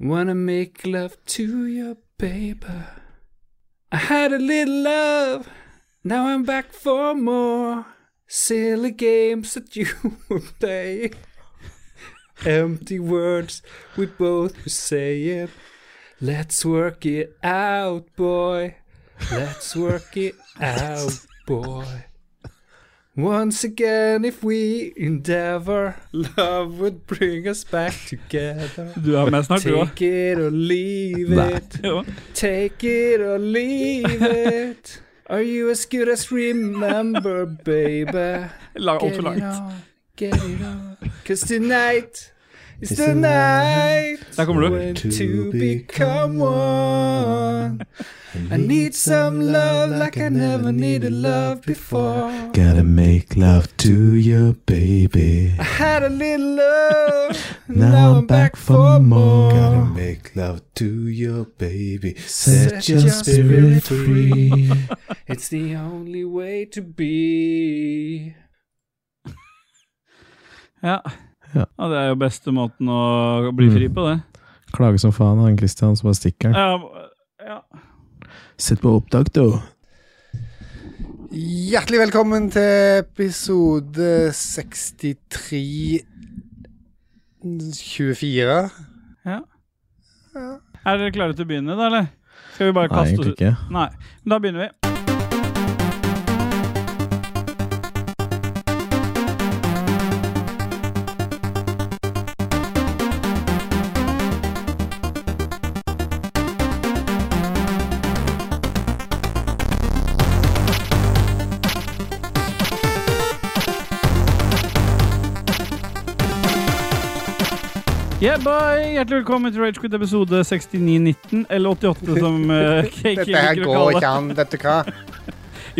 Wanna make love to your baby. I had a little love, now I'm back for more. Silly games that you were playing. Empty words we both were saying. Let's work it out, boy. Let's work it out, boy. Once again, if we endeavor, love would bring us back together. Du er med snart, du òg. Take it or leave it. Take it or leave it. Are you as good as remember, baby? Altfor it langt. on, get it on. Cause tonight is the night Der kommer du. when two become one. I need some love like I never needed love before. Gotta make love to your baby. I had a little love, Now, I'm back, for more. Gotta make love to your baby. Set, your, spirit free. It's the only way to be. Ja. Ja. ja, det er jo beste måten å bli fri på, det. Klager som faen, han Christian som bare stikker. Ja, ja. Sett på opptak, du. Hjertelig velkommen til episode 63 24. Er dere klare til å begynne, da, eller? Skal vi bare Nei, kaste oss egentlig ut? ikke. Nei. Men da begynner vi. Yeah, bye. Hjertelig velkommen til Ragequit episode 6919, eller 88 som eh, Kake Dette her liker å går kalle det. ikke an, vet du hva.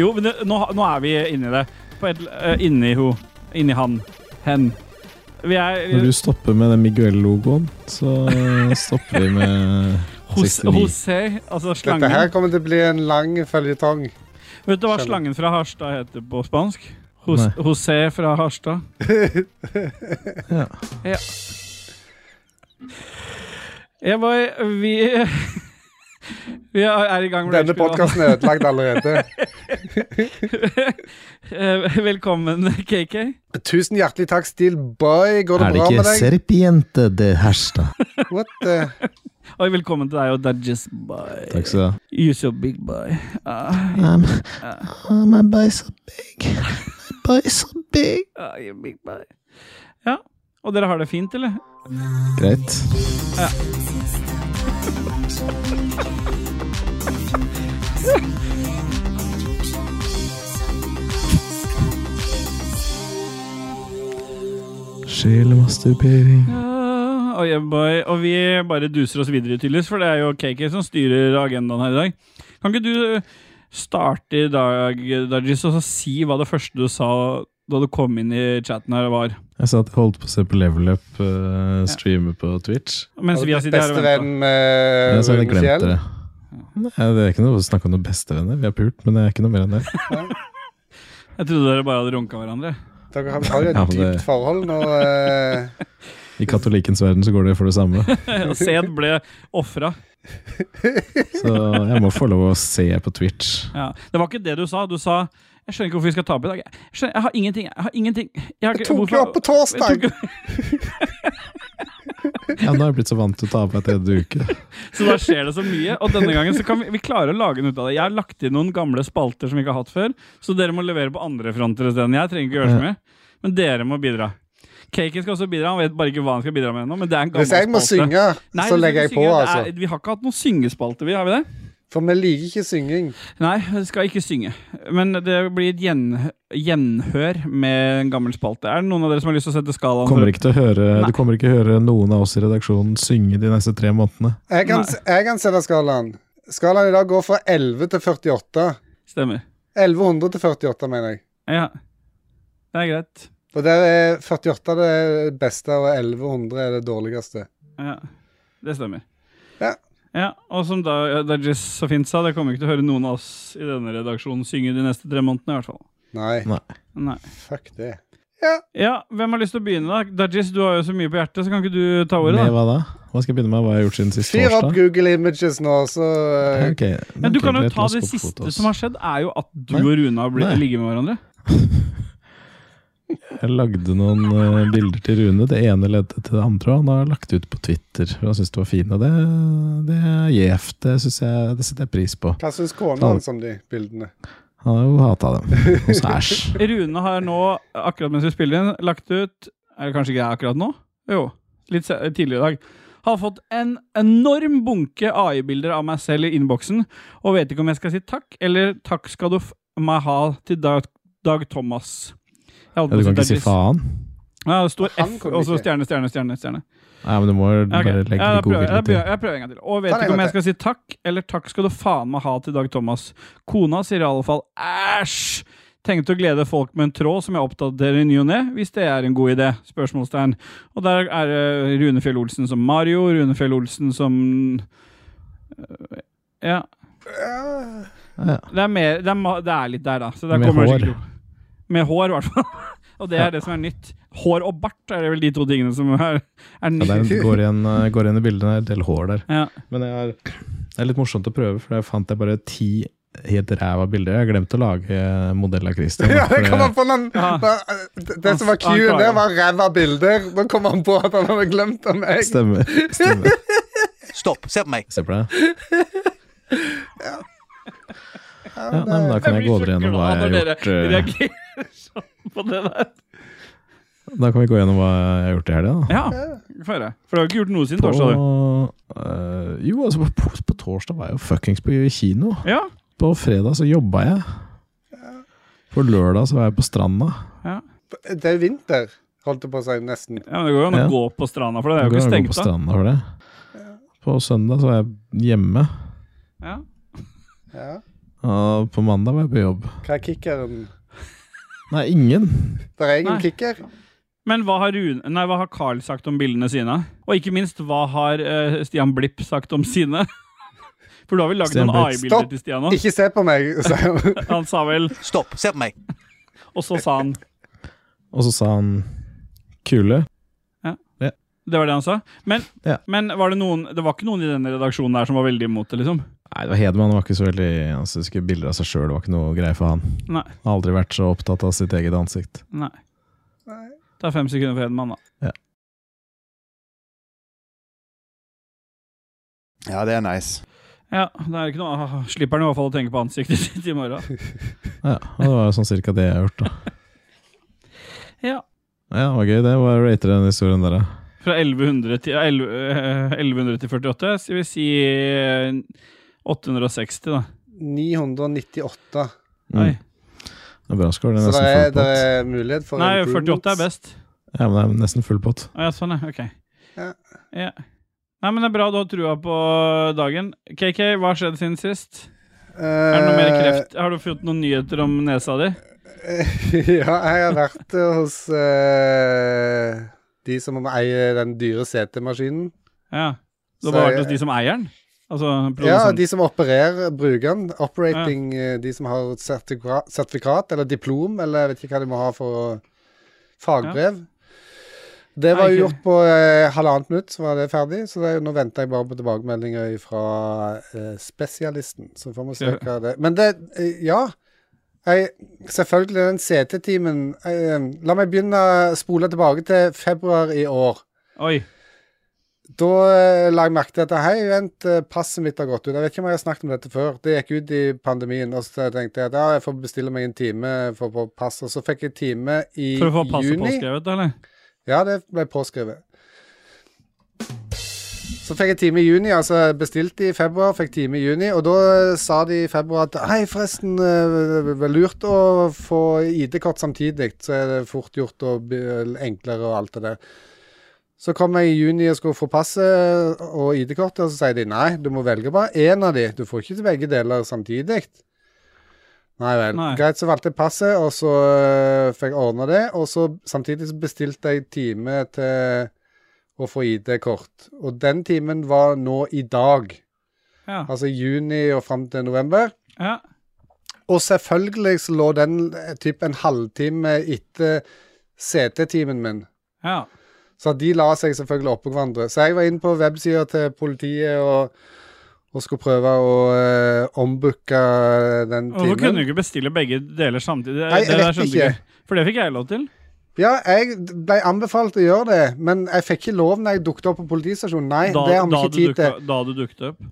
Jo, men det, nå, nå er vi inni det. På et, eh, inni ho. Inni han. Hen. Vi er Når du stopper med den Miguel-logoen, så stopper vi med hos, 69. Jose, altså Dette slangen. her kommer til å bli en lang føljetong. Vet du hva Skjønner. slangen fra Harstad heter på spansk? Hos, Nei. Jose fra Harstad. Ja. Jeg var, vi Vi er er i gang med Denne Ragequit, da. podkasten er ødelagt allerede. Eh, Velkommen, KK. Tusen hjertelig takk, Steelboy. Går det Er det bra med ikke deg? Serpiente de Herstad? What the? Og velkommen til deg og Dudges Bye. Takk skal du ha. Use your big bye. Ah, Um, oh, my boy's so big. My boy's so big. ah, your big bye. Ja. Og dere har det fint, eller? Greit. Sjelemasturbering. Ah, oh yeah, boy. Og vi bare duser oss videre, tydeligvis, for det er jo KK som styrer agendaen her i dag. Kan ikke du eh, starte i dag, Dudges, og så si hva det første du sa da du kom inn i chatten her, var? Jeg satt holdt på å se på Level Up eh, streame på Twitch. Mens vi har sittet her og Beste ventet. venn med jeg så hadde jeg Rune glemt Fjell. det. Nei, det er ikke noe å snakke om noen bestevenner. Vi har pult, men det er ikke noe mer enn det. Jeg trodde dere bare hadde runka hverandre. Dere har har jo Ja, et men det- dypt forhold nå. eh. I katolikkens verden så går det for det samme. Og Sed ble ofra. Så jeg må få lov å se på Twitch. Ja. Det var ikke det du sa. Du sa jeg skjønner ikke hvorfor vi skal tape i dag. Jeg, skjønner, jeg har ingenting. Jeg har ingenting. Jeg, har Jeg ikke- tok jo hvorfor- opp på torsdag! Jeg tok- Ja, nå har jeg blitt så vant til å ta på meg tredje uke. Så da skjer det så mye. Og denne gangen så kan vi, vi klare å lage en ut av det. Jeg har lagt inn noen gamle spalter som vi ikke har hatt før, så dere må levere på andre fronter isteden. Jeg trenger ikke gjøre så mye, men dere må bidra. Caken skal også bidra. Han vet bare ikke hva han skal bidra med ennå, men det er en gammel Hvis jeg må spalte. synge, Nei, så hvis legger du jeg på, synger, det altså. Er, vi har ikke hatt noen syngespalte, vi, har vi det? For vi liker ikke synging. Nei, jeg skal ikke synge. Men det blir et gjen, gjenhør med en gammel spalte. Er det noen av dere som har lyst til å sette skalaen? Kommer for- ikke til å høre, Nei. du kommer ikke til å høre noen av oss i redaksjonen synge de neste tre månedene. Jeg kan, Nei. jeg kan sette skalaen. Skalaen i dag går fra 11 til 48. Stemmer. 1100 til 48, mener jeg. Ja. Det er greit. Og der er 48 det beste, og 1100 er det dårligste. Ja. Det stemmer. Ja. Ja, Og som da Dajis så fint sa, det kommer ikke til å høre noen av oss i denne redaksjonen synge de neste tre månedene, i hvert fall. Nei, Nei. Nei. fuck det. Ja, hvem har lyst til å begynne, da? Dajis, du har jo så mye på hjertet, så kan ikke du ta ordet, da? Med hva da? Hva skal jeg begynne med? Hva har jeg gjort siden sist Fyr opp torsdag? Google Images nå, så eh, Ok, Men du ok, kan jo greit, la ta oss det gå på siste fotos. som har skjedd, er jo at du Nei. og Rune har blitt Nei. ligget med hverandre. Jeg lagde noen eh, bilder til Rune, det ene leddet til det andre, og han har lagt ut på Twitter. for Han syns det var fine. Det, det er gjevt, det, synes jeg- det setter jeg pris på. Hva syns kona hans om de bildene? Han har jo hata dem. Og så æsj. Rune har nå, akkurat mens vi spiller inn, lagt ut Er det kanskje ikke akkurat nå? Jo, litt se- tidligere i dag. Har fått en enorm bunke AI-bilder av meg selv i innboksen, og vet ikke om jeg skal si takk, eller takk skal du f meg ha til Dag, Dag Thomas. Jeg holdt på Ja, du å kan ikke si Dargis. faen? Ja, det står F, Han kan og så ikke. stjerne, stjerne, stjerne. stjerne. Nei, men du må Ja, ok. bare legge Ja, litt jeg, god prøver, vilje jeg, prøver, til. jeg prøver en gang til. Og Ta vet den ikke en om gang jeg skal si takk, eller takk skal du faen meg ha til Dag Thomas. Kona sier i alle fall æsj! Tenkte å glede folk med en tråd som jeg oppdaterer i ny og ne, hvis det er en god idé? Spørsmålstegn. Og der er det Rune Fjell Olsen som Mario, Rune Fjell Olsen som øh, Ja. Ja, Det er, mer, det er, ma- det er litt der, da. Så der Med kommer det hår. sikkert opp. Med hår, i hvert fall. Og det er det som er nytt. Hår og bart er vel de to tingene som er, er Ja, nytt. det er- går, igjen, eh, går igjen i bildene. Det er en del hår der. Ja. Men jeg har, det er litt morsomt å prøve, for jeg fant jeg bare ti helt ræva bilder. Jeg har glemt å lage eh, modell av Christian. Ja, for det kom han på den, Ja. det, det som var Han- han cue klarer. der, var ræva bilder. Nå kom han på at han hadde glemt av meg. Stemmer. stemmer. Stopp, se på meg. Se på deg. Ja, nei, men da kan jeg gå dere gjennom hva jeg har gjort. eh, reagerer sånn på det der. Da kan vi gå gjennom hva jeg har gjort i helga, da. Ja, få høre. For du har ikke gjort noe siden På, torsdag, du. eh, jo, altså på, på torsdag var jeg jo fuckings på kino. Ja, På fredag så jobba jeg. På lørdag så var jeg på stranda. Det er jo vinter, holdt jeg på å si, nesten. ja, men det går jo an å Ja. gå på stranda, for det er jo Går ikke an å gå på stengt av. stranda for det. På søndag så var jeg hjemme. Ja. Ja. Og på mandag var jeg på jobb. Hva er kickeren? Nei, ingen. Det er ingen Nei. kicker. Men hva har, Rune, nei, hva har Carl sagt om bildene sine? Og ikke minst, hva har eh, Stian Blipp sagt om sine? For du har vel lagd Stian noen Blipp. AI-bilder Stopp! til Stian òg? Ikke se på meg, sa han. Han sa vel Stopp, se på meg. Og så sa han Og så sa han kule. Det var det han sa. Men, Ja. men var det noen Det var ikke noen i den redaksjonen der som var veldig imot det, liksom? Nei, det var Hedman. Han var ikke så veldig Han syntes ikke bilder av seg sjøl var ikke noe greie for han. Nei. Han har aldri vært så opptatt av sitt eget ansikt. Nei. Det er fem sekunder for Hedman, da. Ja, det er nice. Ja, det er ikke noe ah, Slipper han i hvert fall å tenke på ansiktet sitt i morgen. Ja, og Det var jo sånn cirka det jeg har gjort, da. Ja. Ja, det var gøy. Det var rater den historien der, da. Fra 1100 til, ja, 11, eh, 1100 til 48, så vil si eh, 860, da. 998. Nei, Mm. Det er bra score. Det er Så det nesten full er, det pott. er mulighet for Nei improvements. 48 er best. Ja, men det er nesten full pott. Å ja, sånn, ja. Ok. Ja. Ja. Nei, men det er bra du har trua på dagen. KK, hva har skjedd siden sist? Er det noe mer Eh, kreft? Har du fått noen nyheter om nesa di? Eh, ja, jeg har vært eh, hos eh, de som eier den dyre CT-maskinen. Ja. Du Så har bare jeg- vært hos de som eier den? Altså Ja, produsenten? de som opererer brukeren. Operating, eh, de som har sertigra- sertifikat eller diplom, eller jeg vet ikke hva de må ha for å- fagbrev. Det Nei, var ikke- jo gjort på eh, halvannet minutt, så var det ferdig. Så det, er jo- nå venter jeg bare på tilbakemeldinger fra eh, spesialisten. Så får vi se Skal- hva det Men det eh, Ja. Jeg, selvfølgelig den CT-timen eh, La meg begynne å spole tilbake til februar i år. Oi. Da eh, la jeg merke til at hei, vent, eh, passet mitt har gått ut. Jeg vet ikke om jeg har snakket om dette før. Det gikk ut i pandemien, og så tenkte jeg at ja, jeg får bestille meg en time for å få pass. Og så fikk jeg time i For å få passet juni. påskrevet, eller? Ja, det ble påskrevet. Så fikk jeg time i juni, altså bestilte i februar, fikk time i juni, og da eh, sa de i februar at hei, forresten, eh, det var lurt å få ID-kort samtidig, så er det fort gjort og be- enklere og alt det der. Så kom jeg i juni og skulle få passet og ID-kortet, og så sier de nei, du må velge bare én av de, du får ikke til begge deler samtidig. Nei vel. Nei. Greit, så valgte jeg passet, og så øh, fikk jeg ordna det. Og så samtidig så bestilte jeg time til å få ID-kort. Og den timen var nå i dag. Ja. Altså juni og fram til november. ja. Og selvfølgelig så lå den eh, typ en halvtime etter CT-timen min. Ja. Så de la seg selvfølgelig oppå hverandre. Så jeg var inne på websida til politiet og, og skulle prøve å eh, ombooke den Hvorfor kunne du timen. ikke bestille begge deler samtidig? Det- Nei, jeg det der vet skjønte ikke. For det fikk jeg lov til. Ja, jeg ble anbefalt å gjøre det, men jeg fikk ikke lov når jeg dukket opp på politistasjonen. Nei, det har vi da, ikke du tid til. dukket, da du dukket opp.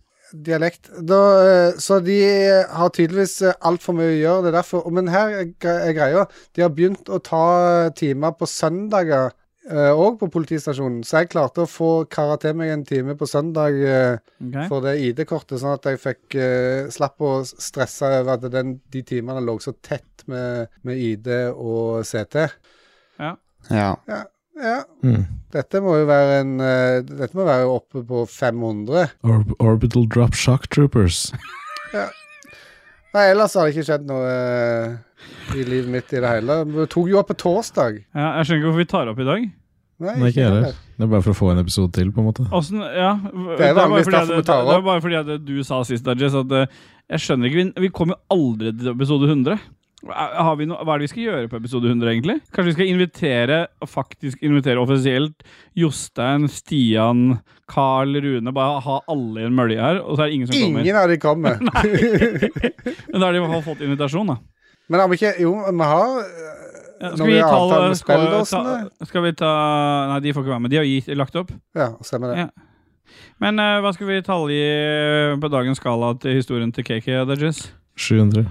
dialekt. Da, eh, så de eh, har tydeligvis altfor mye å gjøre. det er derfor. Men her er gre- er greia. De har begynt å ta eh, timer på søndager òg på politistasjonen. Så jeg klarte å få kara til meg en time på søndag eh, Ok. for det ID-kortet, sånn at jeg fikk eh, slapp å stresse over at den, de timene lå så tett med, med ID og CT. Ja. Ja, Mm. dette må jo være en eh, Dette må være oppe på 500. Orb Orbital Drop Shock Troopers. Nei, ellers har det ikke skjedd noe eh, i livet mitt i det hele. Vi tok jo opp på torsdag. Ja, jeg skjønner ikke hvorfor vi tar opp i dag. Nei, Nei, ikke jeg heller. Det er bare for å få en episode til, på en måte. Åssen Ja. Det er var vanligvis fordi at- derfor vi det tar var opp. bare fordi at du sa sist, Dajis, at eh, jeg skjønner ikke Vi, vi kommer jo aldri til episode 100. Er- Har vi noe- hva er det vi skal gjøre på episode 100, egentlig? Kanskje vi skal invitere, faktisk invitere offisielt, Jostein, Stian, Carl, Rune. Bare ha alle i en mølje her, og så er det ingen som kommer. Ingen av de kommer. Men da har de i hvert fall fått invitasjon, da. Men har vi ikke Jo, vi har Ja, eh, Skal Når vi vi har ta, avtale med skal, spilledåsene. ta, skal vi ta Nei, de får ikke være med. De har gitt, lagt opp. Ja, stemmer Ja. det. Men eh, hva skal vi tallgi på dagens skala til historien til KK, Dajis? 700.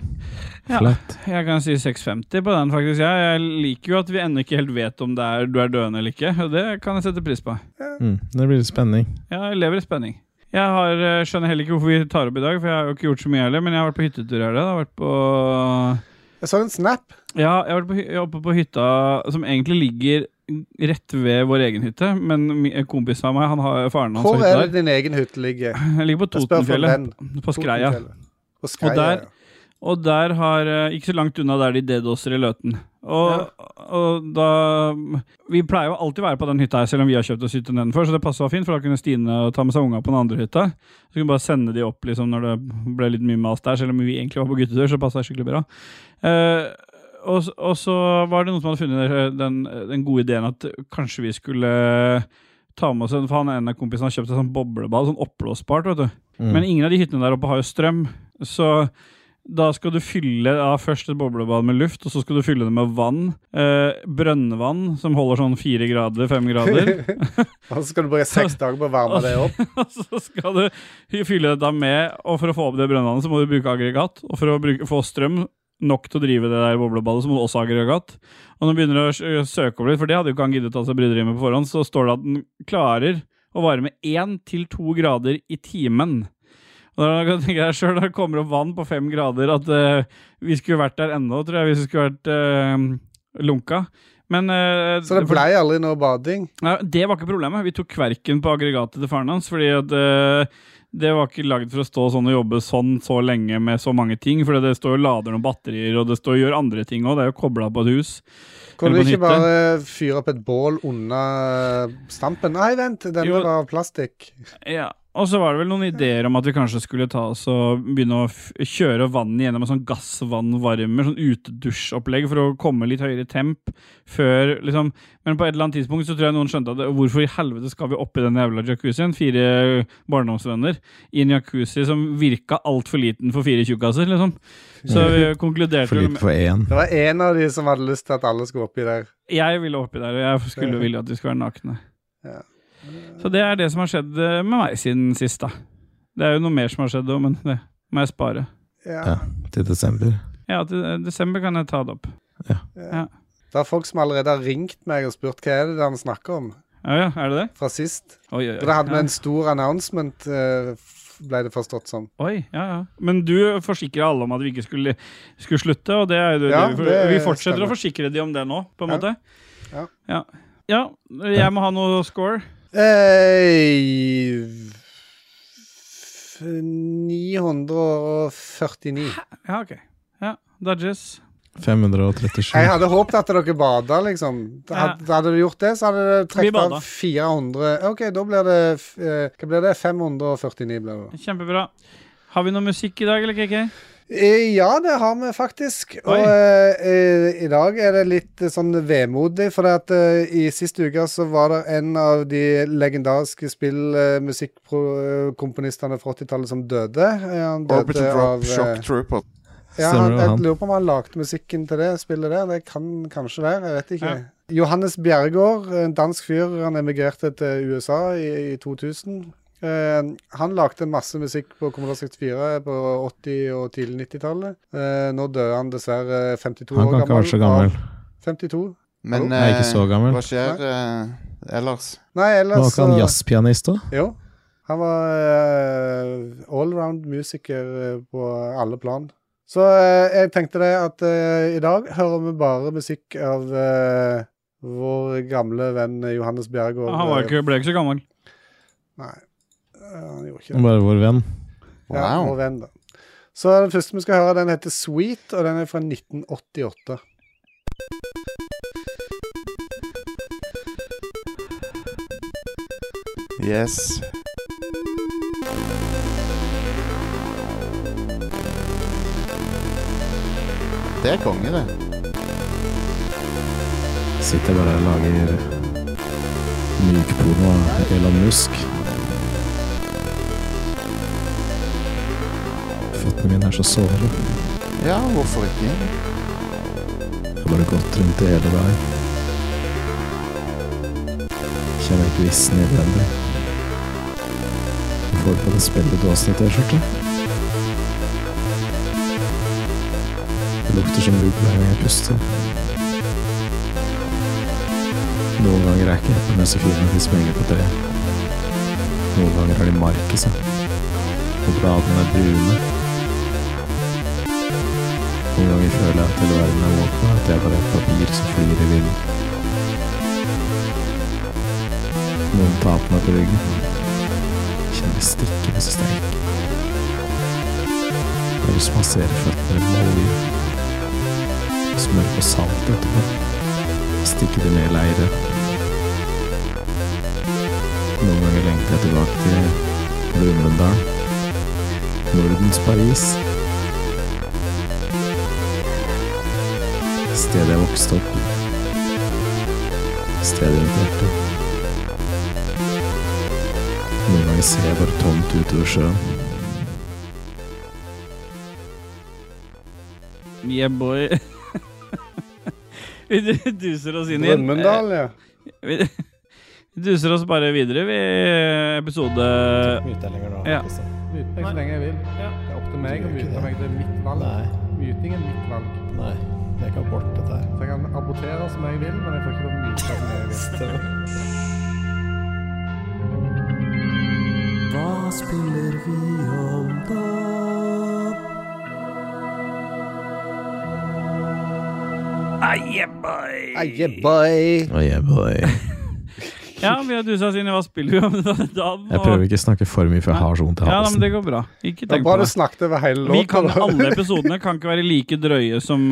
Ja. Flat. Jeg kan si 650 på den, faktisk. Jeg, jeg liker jo at vi ennå ikke helt vet om det er, du er døende eller ikke. Og det kan jeg sette pris på. Mm. Det blir litt spenning. Jeg lever i spenning. Jeg har, eh, skjønner heller ikke hvorfor vi tar opp i dag, for jeg har jo ikke gjort så mye heller. Men jeg har vært på hyttetur her. da. Jeg har vært på Jeg så en snap. Ja, jeg har vært på, hy- jeg er oppe på hytta som egentlig ligger rett ved vår egen hytte. Men mi- en kompis av meg, han har, faren hans Hvor har er hytte det der. din egen hytte ligger? Jeg ligger på Jeg spør for Totenfjellet. den. På Skreia. Totenfjellet. På Skreia. der- Og der har eh, Ikke så langt unna der de dedoser i Løten. Og, og da Vi pleier jo alltid være på den hytta her, selv om vi har kjøpt oss hytte nedenfor, så det passa fint, for da kunne Stine ta med seg unga på den andre hytta. Så kunne vi bare sende de opp liksom når det ble litt mye mas der, selv om vi egentlig var på guttetur, så passa det skikkelig bra. Eh, og, s- og så var det noen som hadde funnet eh, den, den gode ideen at kanskje vi skulle eh, ta med oss en For han ene kompisen har kjøpt en sånn boblebad, sånn oppblåsbart, vet du. Mm. Men ingen av de hyttene der oppe har jo strøm, så da skal du fylle ja, først et boblebad med luft, og så skal du fylle det med vann. Eh, brønnvann som holder sånn fire grader, fem grader. Og så skal du bruke seks dager på å varme det opp. og så skal du hy- fylle det da med, og for å få opp det brønnvannet, så må du bruke aggregat. Og for å bruke, få strøm nok til å drive det der boblebadet, så må du også ha aggregat. Og når du begynner å s- søke over det, for det hadde jo ikke han giddet å ta seg bryderiet med på forhånd, så står det at den klarer å varme én til to grader i timen. Og da kan jeg tenke deg selv, når det kommer opp vann på fem grader, at eh, vi skulle vært der ennå, tror jeg, hvis vi skulle vært eh, lunka. Men, eh, Så det for- ble aldri noe bading. Nei, det var ikke problemet. Vi tok kverken på aggregatet til faren hans. fordi at eh, det var ikke lagd for å stå sånn og jobbe sånn så lenge med så mange ting. For det står jo lader og batterier, og det står og gjør andre ting òg. Det er jo kobla på et hus. Kunne Eller du på en hytte. ikke bare fyre opp et bål under stampen? Nei, vent, denne Jo. var av plastikk. Ja, Og så var det vel noen ideer om at vi kanskje skulle ta oss og begynne å f kjøre vannet gjennom en sånn gassvannvarmer, sånn utedusjopplegg for å komme litt høyere temp før liksom Men på et eller annet tidspunkt så tror jeg noen skjønte at det- hvorfor i helvete skal vi oppi den jævla jacuzzien? Fire barndomsvenner i en jacuzzi som virka altfor liten for fire tjukkaser, liksom. Så vi konkluderte For vel lite med for én. Det var en av de som hadde lyst til at alle skulle oppi der. Jeg ville oppi der, og jeg skulle ville at vi skulle være nakne. Ja. Så det er det som har skjedd eh, med meg siden sist, da. Det er jo noe mer som har skjedd òg, men det må jeg spare. Ja. Ja, til desember. Ja, til eh, desember kan jeg ta det opp. Det er folk som allerede har ringt meg og spurt hva er det han snakker om Ja, ja, er det det? fra sist. Oi, oi, oi. Og da hadde vi ja. en stor announcement, eh, f- ble det forstått som. oi ja, ja. Men du forsikra alle om at vi ikke skulle, skulle slutte, og det er jo det, Ja, vi, for, det vi fortsetter stemmer. å forsikre de om det nå, på en Ja. måte. Ja. ja. Ja, jeg må ha noe score. Eh, f- 949. Ja, OK. Ja, Dudges. 537. Jeg hadde håpet at dere bada, liksom. Da Hadde, hadde du gjort det, så hadde det Vi trukket bada. av 400 OK, da blir det f- eh, Hva blir det? 549 blir det. Kjempebra. Har vi noe musikk i dag, eller, KK? Eh, Ja, det har vi faktisk. Og eh, eh, i dag er det litt eh, sånn vemodig, for at, eh, i siste uke så var det en av de legendariske spillmusikkomponistene fra 80-tallet som døde. Eh, Han Orbiter døde Drop av, eh, Shock Trooper. Ja, Stemmer han, det, jeg han. lurer på om han lagde musikken til det spillet der. Det kan kanskje være, jeg vet ikke. Johannes Bjerregaard, en dansk fyr, han emigrerte til USA i, i 2000. Eh, han lagde masse musikk på Commodore 64 på 80- og tidlig 90-tallet. Eh, nå døde han dessverre 52 Han år kan ikke være så gammel. av 52? Men Nei, ikke så eh, gammel. hva skjer eh, ellers? Nei, Var ellers ikke han jazzpianist òg? Jo. Han var eh, allround musiker eh, på alle plan. Så eh, jeg tenkte det at eh, i dag hører vi bare musikk av eh, vår gamle venn Johannes Bjerregaard. Ah, Eh, Han var ikke, ble ikke så gammel. Nei, eh, han gjorde ikke det. Bare vår venn. Ja, Wow. vår venn, da. Så den første vi skal høre, den heter Sweet, og den er fra 1988. Yes. Det er konge, det. Sitter bare og lager mykporno av Elon Musk. Føttene mine er så såre. Ja, hvorfor ikke? Jeg har bare gått rundt det hele veien. Kjenner ikke vissen i bedre. Får på det spillet Dåsny-T-skjorte. Det lukter som rugg hver gang jeg puster. Noen ganger er ikke eplene så fine at de sprenger på treet. Noen ganger har de mark i seg. Og bladene er brune. Noen ganger føler jeg at hele verden er våken, og at jeg bare er et papir som flyr i vinden. Noen tar på meg på ryggen. Kjenner det stikker hvis jeg sterk. Bare spaserer føttene med olje. Smør på salt etterpå. Stikker det ned i leire. Noen ganger lengter jeg tilbake til Brumunddal. Nordens Paris. Stedet jeg vokste opp. Stedet rundt hjertet. Noen ganger ser jeg bare tomt utover sjøen. Yeah, boy. Vi du- duser oss inn i en- Brumunddal, ja. Vi vi duser oss bare videre vi episode Ja. Mute meg så lenge jeg vil. Det er opp til meg å mute meg. Det er mitt valg. Muting er mitt valg. Nei, jeg kan borte dette her. Så jeg kan abortere som jeg vil, men jeg får ikke lov å myte som jeg vil. Ah, yeah, boy. Oh, yeah, boy. Ja, vi har dusa oss inn i hva spiller vi om da? da og- Jeg prøver ikke å snakke for mye, for jeg har så vondt i Ja, da, men halsen. det går bra. Ikke Det var tenk på bra du det. snakket over hele låta. Vi kan, da. alle episodene kan ikke være like drøye som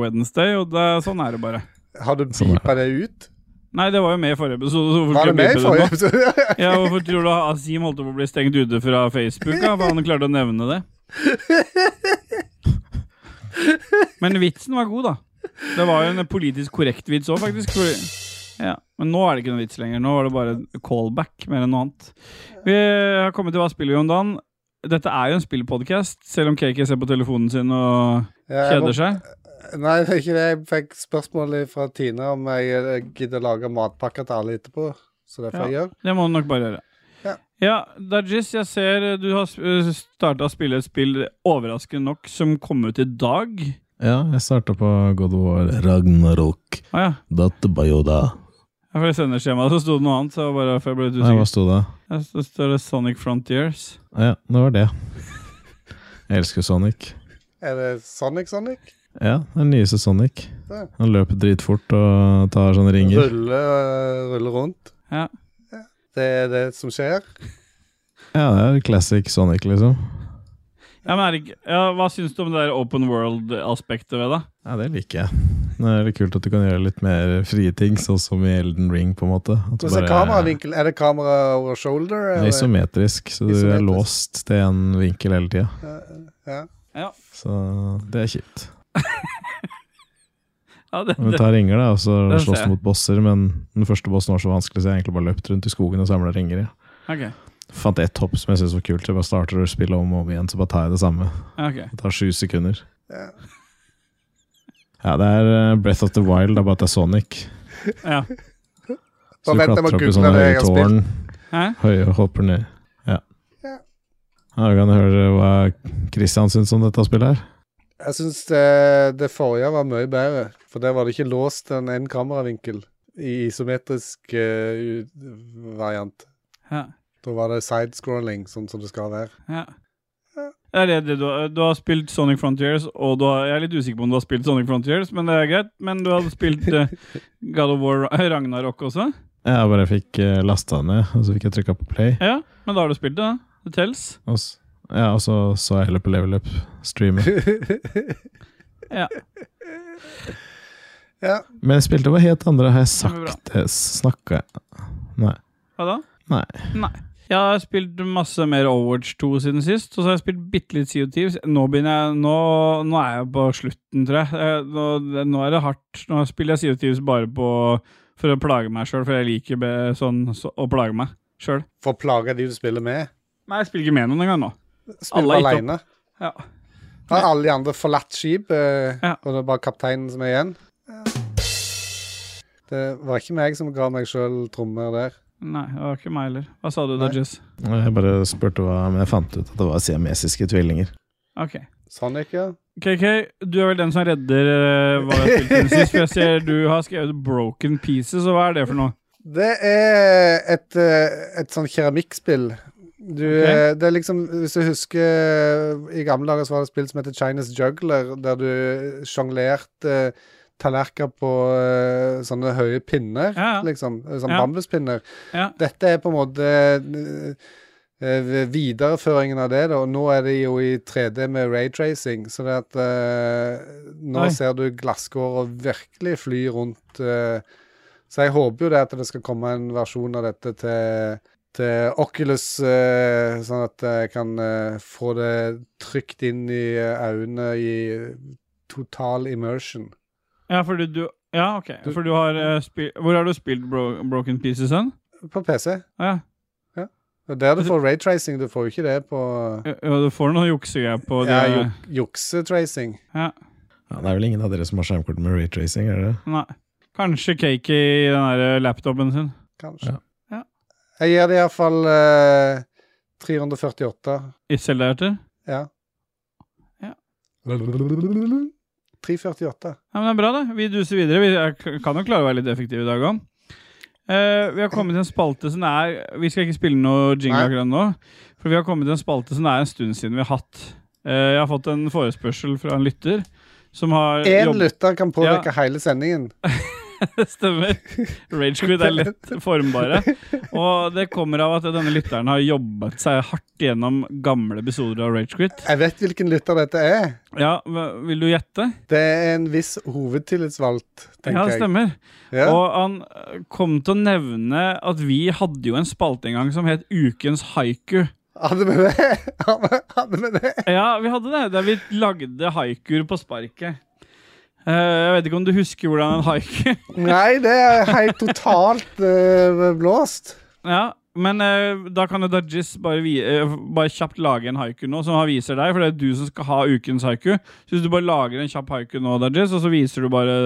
Wednesday, og det, sånn er det bare. Har du Sånn er beepa det ut? Nei, det var jo med i forrige episode. Så hvorfor Var skal det med jeg i beepe forrige det nå? episode? Ja, hvorfor tror du Asim holdt på å bli stengt ute fra Facebook? Da, for han klarte å nevne det. Men vitsen var god, da. Det var jo en politisk korrekt vits òg, faktisk. Fordi, ja. Men nå er det ikke noen vits lenger. Nå var det bare en callback mer enn noe annet. Vi har kommet til Hva spiller vi om dagen? Dette er jo en spillpodkast, selv om KK ser på telefonen sin og Ja, jeg må- kjeder seg. Nei, det er ikke det. Jeg fikk spørsmål fra Tine om jeg eh, gidder å lage matpakker til alle etterpå. Så det får jeg gjøre. Det må du nok bare gjøre. Ja. Ja, Dajis, jeg ser eh, du har starta å spille et spill overraskende nok som kom ut i dag. Ja, jeg starta på God of War. Ragnarok. Å ah, ja. Databayoda. Ja, For i sendeskjemaet så sto det noe annet. Så bare for jeg ble litt Nei, hva usikker. sto det? Ah, Her så står det Sonic Frontiers. Ja, det var det. Jeg elsker Sonic. Er det Sonic Sonic? Ja, den nyeste Sonic. Ja. Han løper dritfort og tar sånne ringer. Rulle, eh, rulle rundt. Ja. Det er det som skjer. Ja, det er classic Sonic, liksom. Ja, men er det ikke, ja, Hva syns du om det der open world-aspektet ved det? Ja, det liker jeg. Det er litt kult at du kan gjøre litt mer frie ting, sånn som i Elden Ring, på en måte. At du Og så bare- kameravinkel. Er det kamera over shoulder? Det eller? er isometrisk, så du er Isometrisk. låst til en vinkel hele tida. Ja. Ja. Så det er kjipt. Ja, det, Vi det. tar ringer, da, og så Den ser slåss jeg. mot bosser. Men den første bossen var så vanskelig, så jeg har egentlig bare løpt rundt i skogen og samla ringer. Ja. Ok. Fant ett hopp som jeg syntes var kult. så Jeg bare starter å spille om og om igjen, så bare tar jeg det samme. ok. Det tar sju sekunder. Ja. Ja, det er eh, Breath of the Wild, det er bare at det er Sonic. Ja. Så Bare du vent, jeg klatrer må opp i google sånne det høye jeg har tårn, Hæ? høye og hopper ned. Ja. Ja. Ja, Vi kan høre hva Christian syns om dette spillet her. Jeg syns det, det forrige var mye bedre, for der var det ikke låst en én kameravinkel i isometrisk eh, u- variant. Ja. Da var det sidescrolling, sånn som det skal være. Ja. Er det det du, har- du har spilt Sonic Frontiers, og du har, jeg er litt usikker på om du har spilt Sonic Frontiers, men det er greit. Men du har spilt eh, God of War eh, Ragnarok også? Jeg bare fikk eh, lasta ned, og så fikk jeg trykka på play. Ja, men da har du spilt det. da. Det tells. Og s- ja, og så så jeg heller på Level Up-streamet. Ja. ja. Men jeg spilte over helt andre. Har jeg Ja, men bra. sagt det? Snakka jeg Nei. Hva da? Nei. Nei. Jeg har spilt masse mer Overwatch 2 siden sist, og så har jeg spilt bitte litt CO2. Nå begynner jeg Nå, nå er jeg på slutten, tror jeg. Eh, Nå, nå er det hardt. Nå spiller jeg CO2 bare på for å plage meg sjøl, for jeg liker be, sånn så, å plage meg sjøl. For å plage de du spiller med. Nei, jeg spiller ikke med noen engang nå. Spiller Alle er ikke alene. Ja. Da har alle de andre forlatt skipet, eh, Ja. og det er bare kapteinen som er igjen. Det var ikke meg som ga meg sjøl trommer der. Nei, det var ikke meg heller. Hva sa du, Nei. Dodges? Og Eh, Jeg bare spurte hva Men jeg fant ut at det var siamesiske tvillinger. Ok. Sonic, ja. KK, du er vel den som redder eh, hva jeg spilte siden sist. For jeg ser du har skrevet 'Broken Pieces', og hva er det for noe? Det er et, eh, et sånn keramikkspill. Du, Ok. eh, Det er liksom, Hvis du husker eh, I gamle dager så var det et spill som heter Chinese Juggler, der du sjonglerte eh, tallerkener på eh, sånne høye pinner, Ja, ja. liksom. eh, Sånn Ja. bambuspinner. Ja. Dette er på en måte eh, eh, videreføringen av det, da. Og nå er det jo i 3D med raytracing, så det at eh, Nå Oi. ser du glasskåra virkelig fly rundt eh, så jeg håper jo det at det skal komme en versjon av dette til, til Oculus, eh, sånn at jeg kan eh, få det trygt inn i eh, øynene i total immersion. Ja, fordi du Ja, ok. For du har eh, spilt Hvor har du spilt Bro Broken Pieces hen? På PC. Ah, ja. Og der Altså du får raytracing, du får jo ikke det på Ja, ja, du får noe juksegreier på det. ja, juk juksetracing. Ja, Ja, det er vel ingen av dere som har skjermkort med raytracing, er det det? nei. Kanskje cake i den der eh, laptopen sin. Kanskje. Ja. Ja. Jeg gir det iallfall uh, 348. I Zelda-hjerter. Ja. Ja. 348. Ja, men det er bra, det. Vi duser videre. Vi er, kan jo klare å være litt effektive i dag òg. vi har kommet til en spalte som er Vi skal ikke spille noe jingle Nei. akkurat nå. For vi har kommet til en spalte som det er en stund siden vi har hatt. Eh, jeg har fått en forespørsel fra en lytter som har Én jobbet- lytter kan påvirke hele sendingen. Det stemmer. Ragequid er lett formbare. Og det kommer av at denne lytteren har jobbet seg hardt gjennom gamle episoder av Ragequid. Jeg vet hvilken lytter dette er. Ja, hva- vil du gjette? Det er en viss hovedtillitsvalgt, Ja, tenker det stemmer. jeg. Ja. Og han eh, kom til å nevne at vi hadde jo en spalte en gang som het Ukens haiku. Hadde vi det? Hadde vi det? Ja, vi hadde det. Der vi lagde haikuer på sparket. Eh, jeg vet ikke om du husker hvordan en haiku Nei, det er helt totalt eh, blåst. Ja, men eh, da kan jo Dajis bare, vi, eh, bare kjapt lage en haiku nå, som han viser deg, for det er du som skal ha ukens haiku. Så hvis du bare lager en kjapp haiku nå, Dajis, og så viser du bare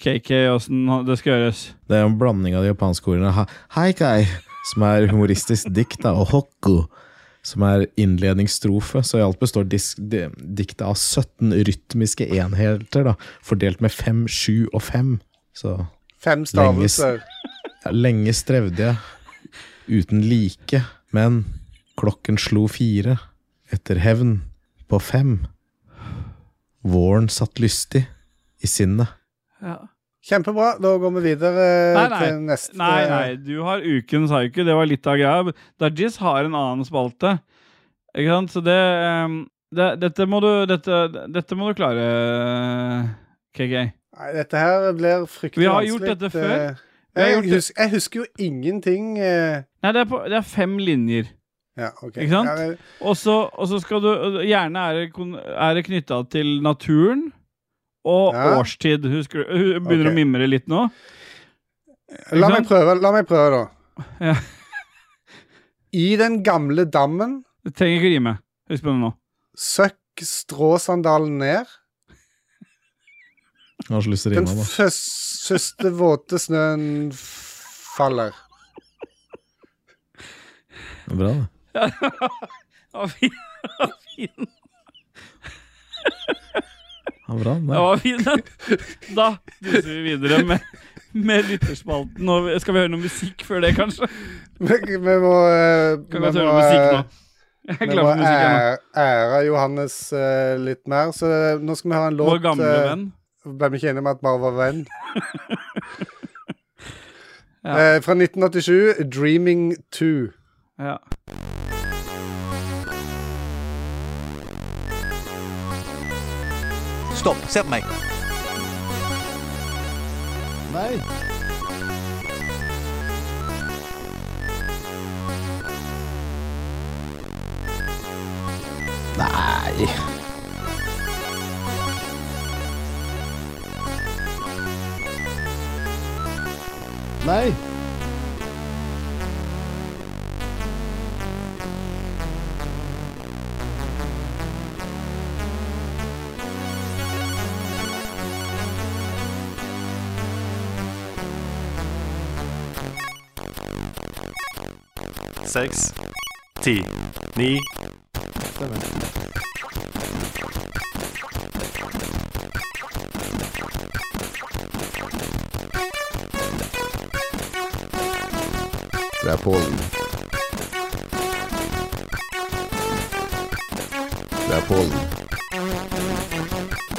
KK åssen det skal gjøres. Det er en blanding av de japanske ordene ha- haikai, som er humoristisk dikt, da, og hokku, som er innledningsstrofe. Så i alt består dis- di- diktet av 17 rytmiske enheter, da, fordelt med 5, 7 og 5. Så Fem stavelser. ja, lenge strevde jeg uten like, men klokken slo fire etter hevn på fem. Våren satt lystig i sinnet. Ja. Kjempebra. Da går vi videre Nei, nei. til neste. Nei, nei, du har ukens haiku. Det var litt av greia. Dajis har en annen spalte. Ikke sant? Så det, eh, det Dette må du Dette, dette må du klare, KK. Nei, dette her blir fryktelig Vi har vanskelig. gjort dette før. Eh, Vi har Jeg gjort det- husker, jeg husker jo ingenting. eh, Nei, det er, på, det er fem linjer. Ja, ok. Ikke sant? Ja, det- Og så og så skal du Gjerne er det, kon- er det knytta til naturen og Ja. årstid. Husker du? Hun begynner Ok. å mimre litt nå. la Ikke meg sant? prøve, la meg prøve da. Ja. I den gamle dammen Du trenger ikke rime. Husk på det nå. søkk stråsandalen ned. Jeg har så lyst til å Den rime, da. førs- første våte snøen f- faller. Det er Bra, det. Å, fy- å, fin. Ja, bra, det. Å, fin. Da duser vi videre med, med lytterspalten. Og skal vi høre noe musikk før det, kanskje? Vi, vi må eh, Kan vi godt høre må, musikk eh, nå. Jeg er Vi klar må for musikk her nå. ære, ære Johannes eh, litt mer, så eh, nå skal vi ha en låt Vår gamle eh, venn. Ble vi ikke enige om at bare var venn? Ja. eh, fra 1987, 'Dreaming 2'. Ja. Stopp, se på meg. Nei. Nei. seks, ti, ni Det er Pålen. Det er Pålen.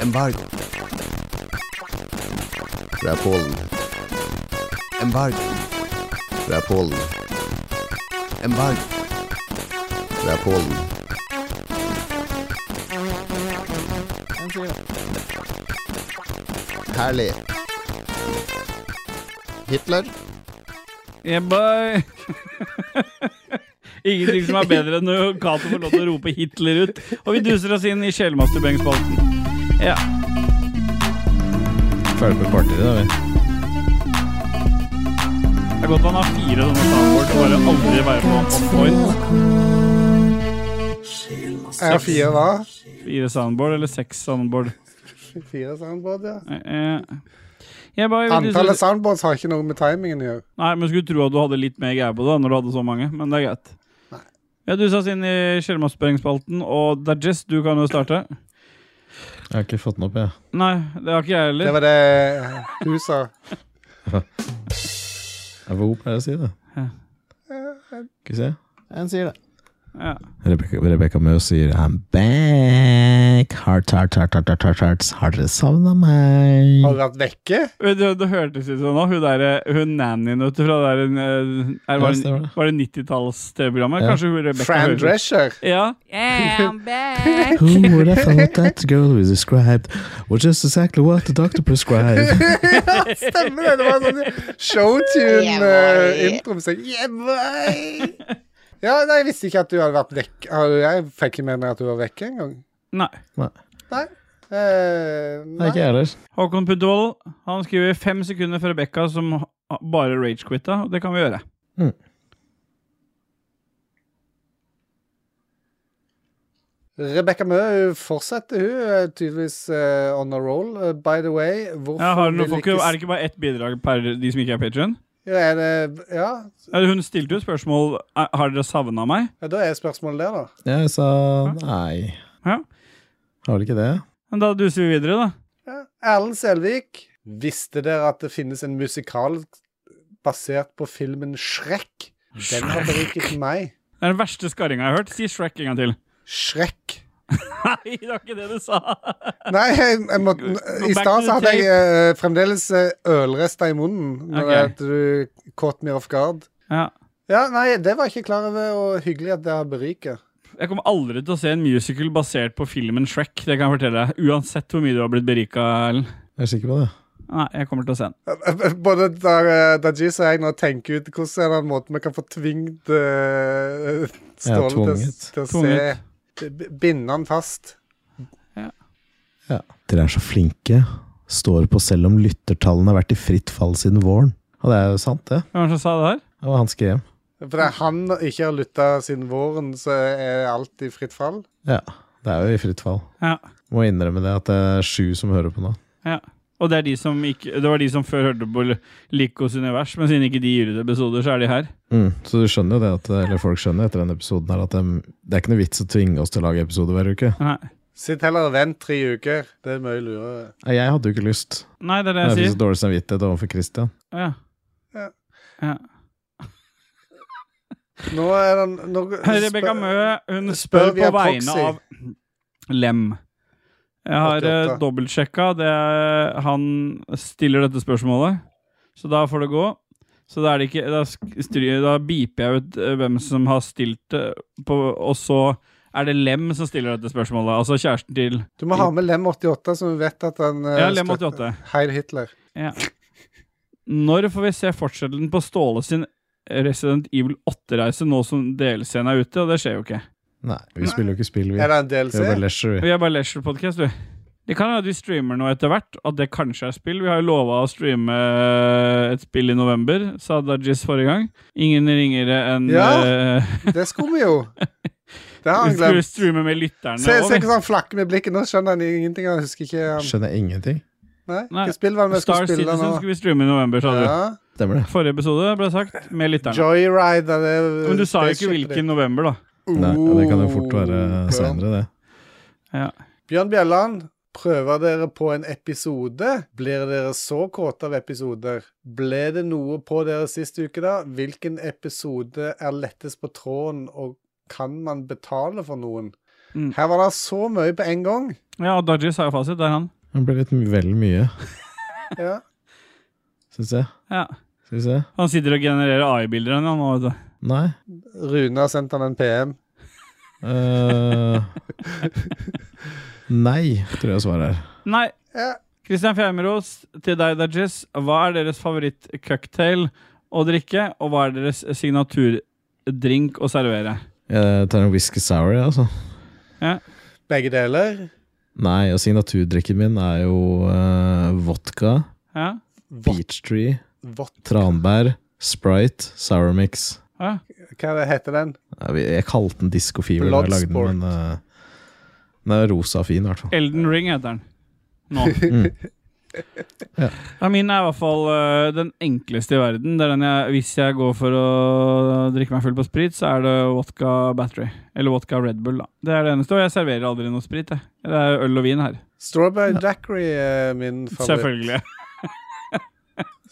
Embargo, Det er Pålen. embargo, Det er Pålen. embargo. Det er Pålen. Herlig. Hitler. Yeah, boy. Ingenting som er bedre enn når Cato får lov til å rope Hitler ut. Og vi duser oss inn i sjelmasturberingsspalten. Ja. Ferdig på kvarteret, da. vi. Det er godt han har fire sånne soundboard og bare aldri være på on point. Er fire hva? Fire soundboard eller seks soundboard. Fire soundboard, ja. Eh, eh. Yeah, boy, vi duser- Antallet soundboards har ikke noe med timingen å gjøre. Nei, men skulle tro at du hadde litt mer greie på det da, når du hadde så mange, men det er greit. Vi har dusa oss inn i sjelmasturberingsspalten, og Dajess, du kan jo starte. Jeg har ikke fått den opp, jeg. Nei, det har ikke jeg heller. Det var det du sa. Jeg får pleier å si det. Skal vi se. En sier det. Ja. Rebekka, Rebekka Mø sier I'm back. Heart, heart, heart, heart, heart, heart, hearts. Har dere savna meg? Har du vært vekke? Vet du, Det hørtes ut som nå, hun, der, hun nannyen vet du, fra det der, eh, er, var, Ja, stemmer det, det. var det 90-talls-TV-programmet? Ja. Kanskje hun Rebecca Fran hører Drescher. Ja. Who would have thought that girl we described was just exactly what the doctor prescribed? ja, stemmer det! Det var en sånn eh, showtune-intro. yeah, boy! ja, nei, jeg visste ikke at du hadde vært vekk. Har du- Jeg fikk ikke med meg at du var vekke engang. Nei. Eh, Nei, nei. ikke jeg heller. Håkon Puntervold han skriver fem sekunder for Rebekka som ha- bare rage-quitta, og det kan vi gjøre. Rebekka Mø hun fortsetter, hun. er Tydeligvis eh, on a roll. Eh, by the way, hvorfor Ja, har du noe, vil får ikke, s- er det ikke bare ett bidrag per de som ikke er patron? ja, er det, ja, Hun stilte jo et spørsmål "Er- Har dere savna meg. ja, da er spørsmålet der, da. Jeg sa nei. Ja. Har vel ikke det? Men da duser vi videre, da. Ja. Erlend Selvik, visste dere at det finnes en musikal basert på filmen Shrek? Den har beriket meg. Det er den verste skarringa jeg har hørt. Si Shrek en gang til. Shrek. Nei, det var ikke det du sa! Nei, jeg, jeg må, Go back i stad to så the hadde jeg eh, fremdeles eh, ølrester i munnen. Når Ok. at du caught me off guard. Ja. Ja, nei, det var jeg ikke klar over, og hyggelig at det har beriket. Jeg kommer aldri til å se en musical basert på filmen Shrek. Det kan jeg fortelle deg Uansett hvor mye du har blitt berika. Erlend. Jeg er sikker på det. Nei, jeg kommer til å se den. Både eh, Dar- Dajis og jeg nå tenker ut hvordan er det en måte vi kan få tvingt eh, Ståle til, tvunget. til å Tvunget. se b- Binde han fast. Dere er så flinke. Står på selv om lyttertallene har vært i fritt fall siden våren. Og det er jo sant, det. Hvem var det som sa det her? Det var han skrev. For det er han ikke har lytta siden våren, så er alt i fritt fall. Ja, det er jo i fritt fall. Ja. Må innrømme det at det er sju som hører på nå. Ja. Og det, er de som ikke, det var de som før hørte på Likos univers, men siden ikke de gir ut episoder, så er de her. Mm, så du skjønner jo det at, eller folk skjønner etter denne episoden her at dem- det er ikke noe vits å tvinge oss til å lage episode hver uke. Nei, Sitt heller og vent tre uker. Det er mye lurere. Nei, Jeg hadde jo ikke lyst. Nei det er det Jeg jeg fikk sier. så dårlig samvittighet overfor Christian. Ja. Ja. Ja. Nå er den nå, Rebekka Mø hun spør spør på via vegne proxy. av Lem. Jeg har eh, 88. dobbeltsjekka. Det er, han stiller dette spørsmålet, så da får det gå. Så da, er det ikke, da, sk- stry- da beeper jeg ut eh, hvem som har stilt det, på, og så er det Lem som stiller dette spørsmålet. Altså kjæresten til Du må ha med Lem88, så vi vet at han eh, Ja, Lem støtter 88. Heil Hitler. Ja. Når får vi se fortsettelsen på Ståle sin Resident Evil 8-reise nå som delscenen er ute? Og det skjer jo ikke. Nei, vi spiller jo ikke spill, vi. Er det en Vi er bare DLC? leisure, vi. Vi er bare leisure podcast, du. Det kan hende vi streamer noe etter hvert, at det kanskje er spill. Vi har jo lova å streame eh, et spill i november, sa Dajis forrige gang. Ingen ringere enn Ja. eh, Det skulle vi jo. Det Vi har han skulle glemt. streame med lytterne Se, se òg. hvordan han flakker med blikket. Nå skjønner han ingenting. Han husker ikke han. Skjønner ingenting. Nei, Nei. Hvilket spill var det vi Star skulle spille Citizen nå? skulle vi streame i november, sa du. Ja. Stemmer det. Forrige episode ble sagt med lytterne. Joyride er det Men du sa jo ikke spaceshipet hvilken november, da. ditt. Nei, og det kan jo fort Oh, være seinere, det. Bjørn Bjelland, prøver dere på en episode? Blir dere så kåte av episoder? Ble det noe på dere sist uke, da? Hvilken episode er lettest på tråden, og kan man betale for noen? Mm. Her var det så mye på en gang. Ja, Dajis har jo fasit. Det er han. Det ble litt vel mye, Ja. syns jeg. Ja. Skal vi se. Han sitter og genererer AI-bilder ennå, nå, vet du. Nei. Rune har sendt han en PM. Eh, nei, tror jeg svaret er. Nei. Ja. Kristian Fjermeros, til deg, Dajis. Hva er deres favorittcocktail å drikke, og hva er deres signaturdrink å servere? Jeg tar en whisky sour, jeg, altså. Begge deler. Nei, og signaturdrikken min er jo eh, vodka, Ja? Vått. peachtree, vått. tranbær, sprite, sour mix. ja? Hva er det- heter den? Nei, vi- Jeg kalte den Disco Fever da jeg lagde Bloodsport. den, men eh, den er rosa fin, i hvert fall. Elden Ring heter den. Nå. Mm. Ja. Ja, min er i hvert fall øh, den enkleste i verden. Det er den jeg, hvis jeg går for å drikke meg full på sprit, så er det vodka battery. Eller vodka Red Bull, da. Det er det eneste. Og jeg serverer aldri noe sprit. Jeg. Det er øl og vin her. Strawberry Dackery er min favoritt. Selvfølgelig.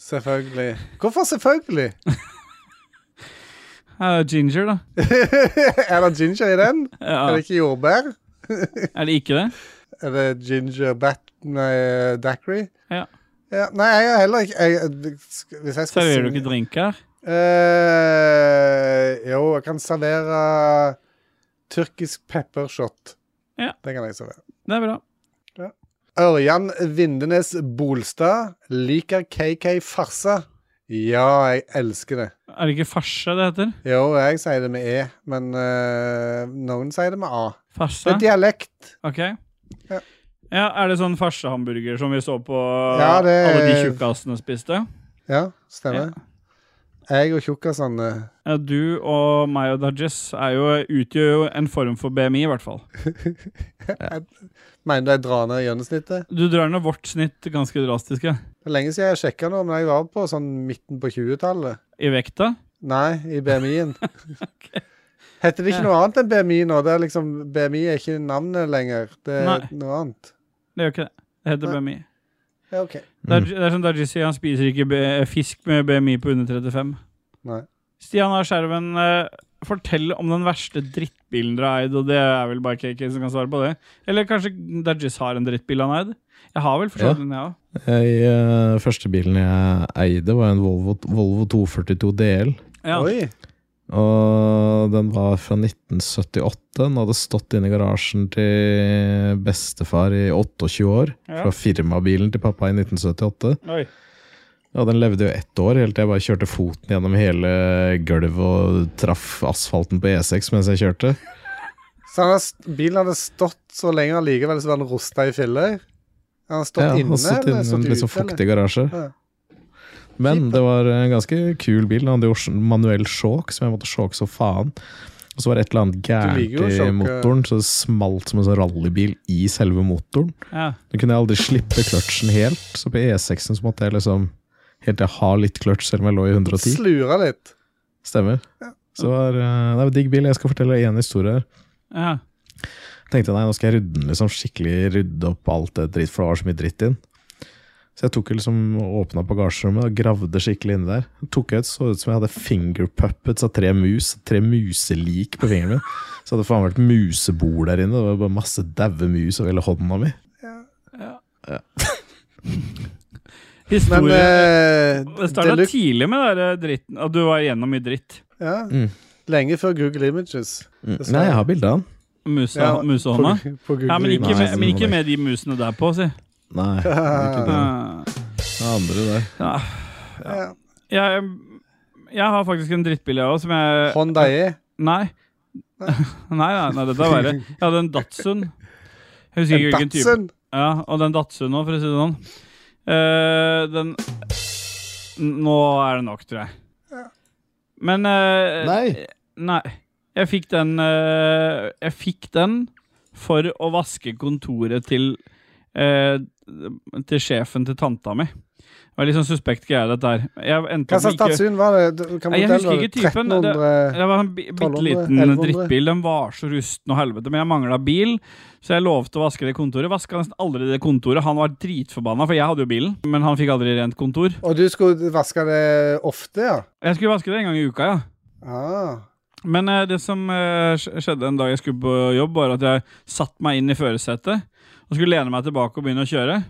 Selvfølgelig. Hvorfor selvfølgelig? Ja, ginger, da. er det ginger i den? Er Ja. det ikke jordbær? Er det ikke det? Er det ginger bat... Nei, daiquiri? Ja. Ja, nei, jeg har heller ikke jeg, sk- Hvis jeg skal Serverer du synge- ikke drink her? Eh, jo, jeg kan servere tyrkisk peppershot. Ja. Det kan jeg servere. Det er bra. Ørjan Vindenes Bolstad liker KK Farsa. Ja, jeg elsker det. Er det ikke farse det heter? Jo, jeg sier det med E, men eh, noen sier det med A. Det Farse? er dialekt. Ok. Ja. Ja, Er det sånn farsehamburger som vi så på Ja, det- alle de tjukkasene spiste? Ja, stemmer. Jeg og sånn, eh, tjukkasene Ja, du og meg og Dajess er jo, utgjør jo en form for BMI, i hvert fall. Mener du jeg drar ned gjennomsnittet? Du drar ned vårt snitt ganske drastisk, ja. Det er lenge siden jeg sjekka nå, men jeg var på sånn midten på 20-tallet. I vekta. Nei, i BMI-en. Heter det ikke noe annet enn BMI nå? Det er liksom, BMI er ikke navnet lenger. Det er Nei. noe annet. Det gjør ikke det. Det heter BMI. Ja, OK. Det er, det er som Dajess sier, han spiser ikke B fisk med BMI på under 35. Nei. Stian A. Skjerven, eh, fortell om den verste drittbilen dere har eid, og det er vel bare KK som kan svare på det. Eller kanskje Dajess har en drittbil han har eid? Jeg har vel Ja. forstått den, jeg òg. Jeg, eh, første bilen jeg eide, var en Volvo, Volvo 242 DL. Ja. Oi. Og den var fra 1978. Den hadde stått inne i garasjen til bestefar i 28 år. Ja. Fra firmabilen til pappa i 1978. Oi. Ja, Den levde jo ett år, helt til jeg bare kjørte foten gjennom hele gulvet og traff asfalten på E6 mens jeg kjørte. Så han har, st- bilen hadde stått så lenge allikevel, så var den rusta i filler. Han har stått Ja, inne, og stått eller inne i en stått litt sånn ute, eller? fuktig garasje. Ja. Men det var en ganske kul bil. Den hadde jo sj- manuell sjåk, som jeg måtte sjåke så faen. Og så var det et eller annet liker jo gærent å i sjåke. motoren, så det smalt som en sånn rallybil i selve motoren. Ja. Da kunne jeg aldri slippe kløtsjen helt, så på E6-en så måtte jeg liksom helt til jeg har litt kløtsj, selv om jeg lå i 110. Slura litt. Stemmer. Så det var, eh, det var digg bil. Jeg skal fortelle én historie her Ja. tenkte jeg nei, nå skal jeg rydde den liksom skikkelig, rydde opp alt det dritt, for det var så mye dritt inn. Så jeg tok jo liksom åpna bagasjerommet og gravde skikkelig inni der. Tok jeg ut, Så ut som jeg hadde finger puppets av tre mus, tre muselik på fingeren min. Så hadde det faen vært musebol der inne. Det var bare masse daue mus over hele hånda mi. Men Historie eh, Det det starta luk- tidlig med den der dritten. At du var igjennom mye dritt. ja. Mm. Lenge før Google Images. Dessverre. Nei, jeg har bilde av den. Muse, Ja, musehånda. På, på Google Ja, men ikke, Images. med, men ikke med de musene der på, si. Nei, det er ikke den. Ja. Det er andre der. Ja. Jeg, jeg har faktisk en drittbil, jeg òg, som jeg Honda E. Nei. nei, nei, nei, dette er verre. Jeg hadde en Datsun. Jeg husker ikke hvilken type. Datsun. Ja, Og den Datsun nå, for å si det sånn. Eh, den N- Nå er det nok, tror jeg. Men eh, Nei. Nei. Jeg fikk den eh, Jeg fikk den for å vaske kontoret til eh, Til sjefen til tanta mi. Det var litt sånn suspekt greie, dette her. Jeg endte opp Hva med slags ikke- Datsun var det? Du- Hva Nei, jeg modell husker var det? ikke typen. Det- 1300 det var en bi- bitte 1200, liten 1100. drittbil. Den var så rusten og helvete, men jeg mangla bil, så jeg lovte å vaske det kontoret. Vaska nesten aldri det kontoret. Han var dritforbanna, for jeg hadde jo bilen, men han fikk aldri rent kontor. Og du skulle vaske det ofte, ja? Jeg skulle vaske det en gang i uka, ja. Ah. Men eh, det som eh, sk- skjedde en dag jeg skulle på jobb, var at jeg satte meg inn i førersetet og skulle lene meg tilbake og begynne å kjøre.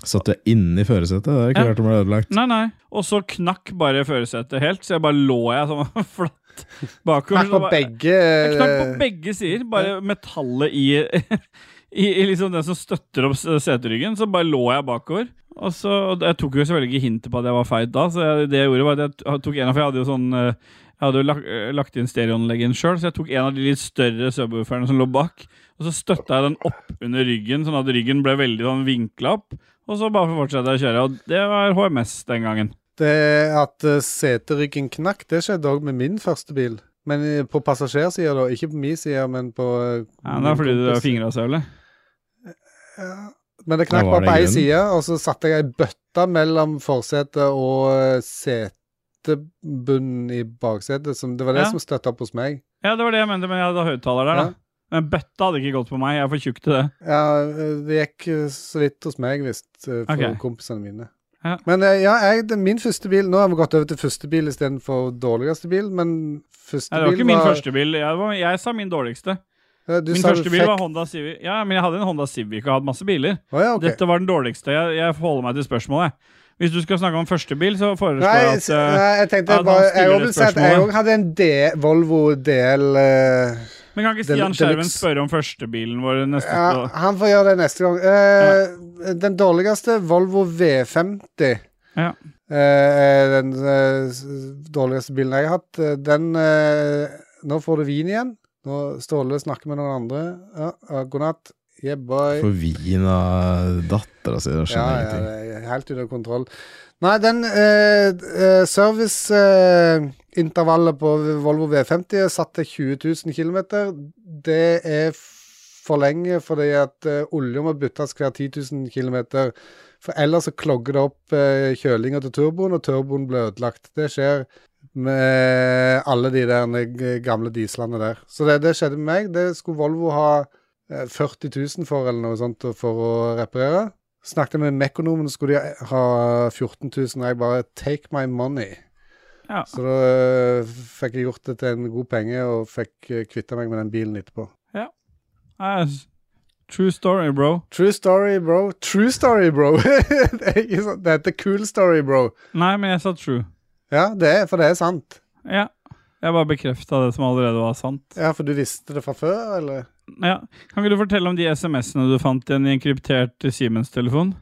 Satt du inne i førersetet? Det er ikke Ja. rart det ble ødelagt. Nei, nei. Og så knakk bare førersetet helt, så jeg bare lå jeg sånn flatt bakover. så Knakk på bare- begge Jeg knakk på eh, begge sider. Bare metallet i, i, i liksom den som støtter opp s- seteryggen. Så bare lå jeg bakover. Og så, og Jeg tok jo selvfølgelig ikke hintet på at jeg var feit da, så jeg, det jeg gjorde var at jeg t- tok en av For jeg hadde jo sånn eh, Jeg hadde jo lagt, eh, lagt inn stereoanleggen sjøl, så jeg tok en av de litt større subwooferne som lå bak. Og så støtta jeg den opp under ryggen, sånn at ryggen ble veldig sånn vinkla opp. Og så bare fortsatte jeg å kjøre. Og det var HMS den gangen. Det at eh, seteryggen knakk, det skjedde òg med min første bil. Men eh, på passasjersida, da. Ikke på min side, men på eh, Ja, det min er fordi du kompis. har fingra så jævlig. Ja. Men det Ja, knakk var bare på det ei grunnen? side, og så satte jeg ei bøtte mellom forsetet og eh, setebunnen i baksetet. Som, det var det Ja. som støtta opp hos meg. Ja, det var det jeg mente, men jeg hadde høyttaler der, da. Ja. Men bøtta hadde ikke gått på meg. Jeg er for tjukk til det. Ja, eh, det gikk eh, så vidt hos meg, visst, eh, for Ok. kompisene mine. Ja. Men eh, ja, jeg, det, min første bil Nå har vi gått over til første bil istedenfor dårligste bil, men første Nei, det var bil ikke min første bil. Jeg, var, jeg sa min dårligste. Ja, du min sa du første bil fikk- var Honda Civic. Ja, men jeg hadde en Honda Civic og hadde masse biler. Å ja, ok. Dette var den dårligste. Jeg, jeg holder meg til spørsmålet. jeg. Hvis du skal snakke om første bil, så foreslår Nei, jeg at eh, s- nei, jeg tenkte ja, jeg bare da stiller Jeg du også vil si at jeg spørsmålet. òg hadde en D, Volvo DL eh, eh, Men kan ikke Del- Stian Skjerven Deluxe. spørre om førstebilen vår neste ja, uke? Han får gjøre det neste gang. Eh, Den dårligste, Volvo V50, Ja. eh, er den eh, s- dårligste bilen jeg har hatt. Eh, Den eh, Nå får du vin igjen. Nå Ståle snakker med noen andre. Ja, ja, God natt. Yeah, boy. For vin av dattera si, jeg Ja, skjønner ja, ingenting. det er helt under kontroll. Nei, den eh, serviceintervallet på Volvo V50 er satt til 20 000 km. Det er f- for lenge fordi at eh, olje må byttes hver 10 000 km. For ellers så klogger det opp eh, kjølinga til turboen, og turboen blir ødelagt. Det skjer med alle de der eh, gamle dieslene der. Så det, det skjedde med meg. Det skulle Volvo ha eh, 40 000 for, eller noe sånt, for å reparere. Snakket med Mekonomen, skulle de ha 14 000, og jeg bare 'take my money'. Ja. Så da øh, fikk jeg gjort det til en god penge, og fikk øh, kvitta meg med den bilen etterpå. Nei, s- True story, bro. True story, bro. True story, bro! det er ikke sånn, det heter cool story, bro. Nei, men jeg sa true. Ja, det er, for det er sant. Ja. Jeg bare bekrefta det som allerede var sant. Ja, for du visste det fra før, eller? Ja. Kan ikke du fortelle om de SMS-ene du fant igjen i en kryptert Siemens-telefon?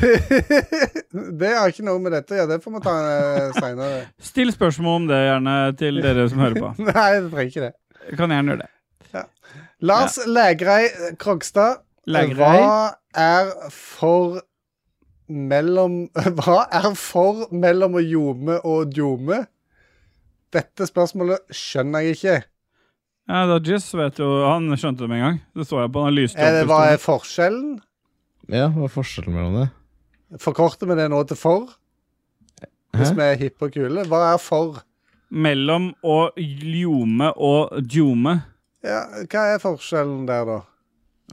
det har ikke noe med dette å gjøre, det får vi ta eh, seinere. Still spørsmål om det gjerne til dere som hører på. Nei, du trenger ikke det. Kan gjerne gjøre det. Lars Lægrei Krogstad, Lægrei. hva er for mellom Hva er for mellom å ljome og djome? Dette spørsmålet skjønner jeg ikke. Ja, da Jizz vet jo Han skjønte det med en gang. Det så jeg på. Han lyste Er det, opp. hva i er forskjellen? Ja, hva er forskjellen mellom det? Forkorter vi det nå til for? Hvis Hæ? vi er hippe og kule? Hva er for? stedet. Mellom å ljome og djome. Ja, hva er forskjellen der, da?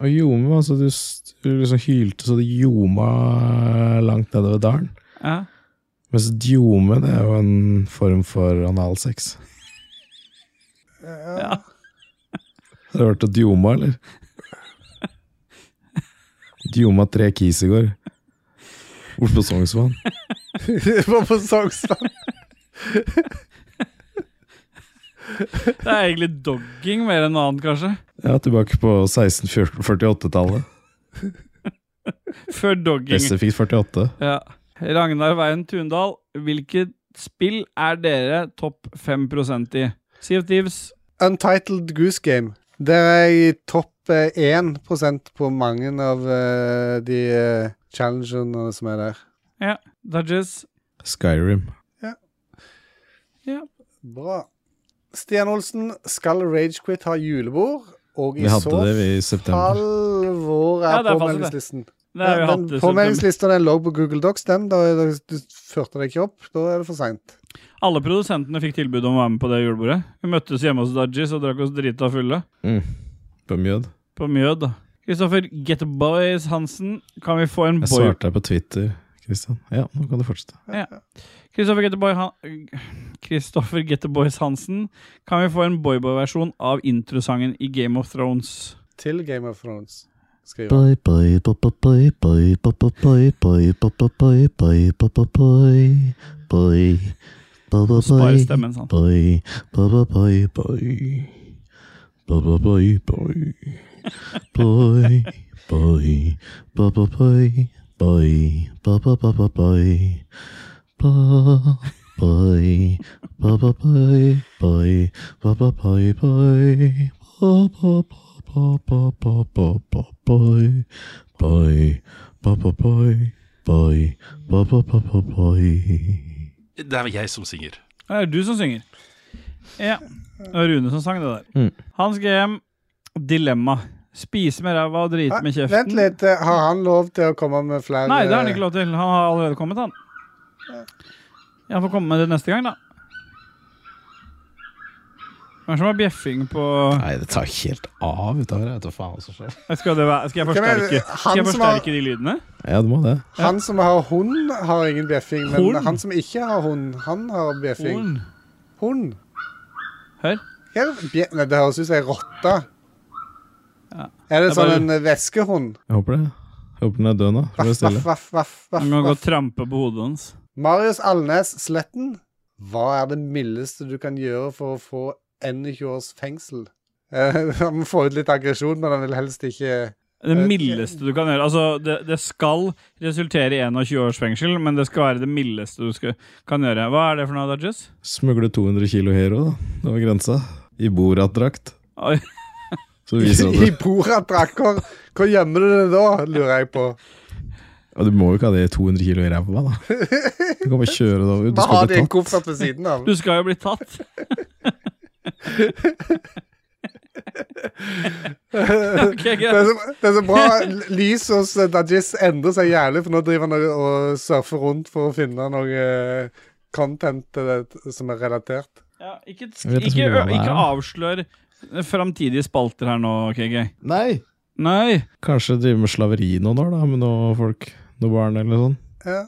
Og ljome, altså du, s- du liksom hylte så det ljoma langt nedover dalen. Ja. Mens djome, det er jo en form for analsex. Ja. Har du hørt om djoma, eller? Djoma tre kis i går. Oslo Sognsvann. Det var på Sognsvann. Det er egentlig dogging mer enn noe annet, kanskje. Ja, tilbake på 1648-tallet. Før dogging. Spesifikt 48. Ja. Ragnar Veien Tundal, hvilket spill er dere topp 5 i? Sea of Thieves. Untitled Goose Game. Der er jeg i topp eh, 1 på mange av eh, de eh, challengene som er der. Dodges. Skyrim. Bra. Stian Olsen, skal Ragequit ha julebord? Og i Vi så hadde det vi i september. fall hvor Ja, er det er faktisk det. påmeldingslisten? Det har vi Ja, hatt. i den september. påmeldingslista den lå på Google Docs, den. Da, da du førte deg ikke opp. Da er det for seint. Alle produsentene fikk tilbud om å være med på det julebordet. Vi møttes hjemme hos Dodges og drakk oss drita fulle. På Mjød. På Mjød. da. Kristoffer Getboys Hansen, kan vi få en Jeg boy... svarte deg på Twitter, Christian. Ja, nå kan du fortsette. Kristoffer Getteboy Han... Kristoffer Getteboys Hansen, kan vi få en boyboy-versjon av introsangen i Game of Thrones? Til Game of Thrones. Skriver. Bye bye bye bye bye bye bye bye bye bye bye bye bye bye bye bye bye bye bye Spare bye stemmen, sånn. Bye, bye, bye, bye, bye. Bye, bye, bye, bye. Bye, bye, bye, bye, bye. Bye, bye, bye, bye, bye, bye. Bye, bye, bye, bye, bye. Bye, bye, bye, bye, bye. Bye, bye, bye, bye, bye, bye, bye, bye. Bye, bye, bye, bye. Bye, bye, bye, bye, bye, bye. Det er jeg som synger. Det er du som synger. Ja. Det var Rune som sang det der. Mm. Hans GM, dilemma. Spise med ræva og drite med Nei, kjeften. Vent litt. eh, Har han lov til å komme med flere Nei, det har han ikke lov til. Han har allerede kommet, han. Ja, Han får komme med det neste gang, da. Hvem er det som har bjeffing på Nei, det tar helt av utover. Jeg vet da faen hva som skjer. Skal, det være... Skal jeg Hvem er det- forsterke, han Skal jeg som har- forsterke de lydene? Ja, du må det. Han som har hund, har ingen bjeffing. Men Hund? han som ikke har hund, han har bjeffing. Horn. Hund. Hør. Her, bje Nei, det høres ut som ei rotte. Ja. Er det Jeg sånn bare- en veskehund? Jeg håper det. Jeg håper den er død nå. for å Vaff, være vaff, stille. vaff, vaff, vaff, Han kan gå og vaff. trampe på hodet hans. Marius Alnes Sletten, hva er det mildeste du kan gjøre for å få 21 års fengsel? Eh, Han må få ut litt aggresjon, men han vil helst ikke Det vet ikke. mildeste du kan gjøre. Altså, det, det skal resultere i 21 års fengsel, men det skal være det mildeste du skal, kan gjøre. Hva er det for noe, Dodges? Smugle 200 kilo hero, da. Det var grensa. I Borat-drakt. Oi, Så viser han I det. Borat-drakt! Hvor, hvor gjemmer du det da, lurer jeg på. Ja, du må jo ikke ha det i 200 kilo i ræva, da. Du kan bare kjøre det over. Du Hva har skal de i bli en tatt. koffert ved siden av? du skal jo bli tatt. ok, Det er, greit. så, det er så bra. Lys hos eh, Dajis endrer seg jævlig, for nå driver han og- og surfer rundt for å finne noe eh, content til det som er relatert. Ja, ikke, Jeg vet ikke, ikke så mye hva det er, ikke da. avslør framtidige spalter her nå, KG. Nei! Nei. Kanskje drive med slaveri noen år, da, med noen folk. Noen barn eller sånn. Ja.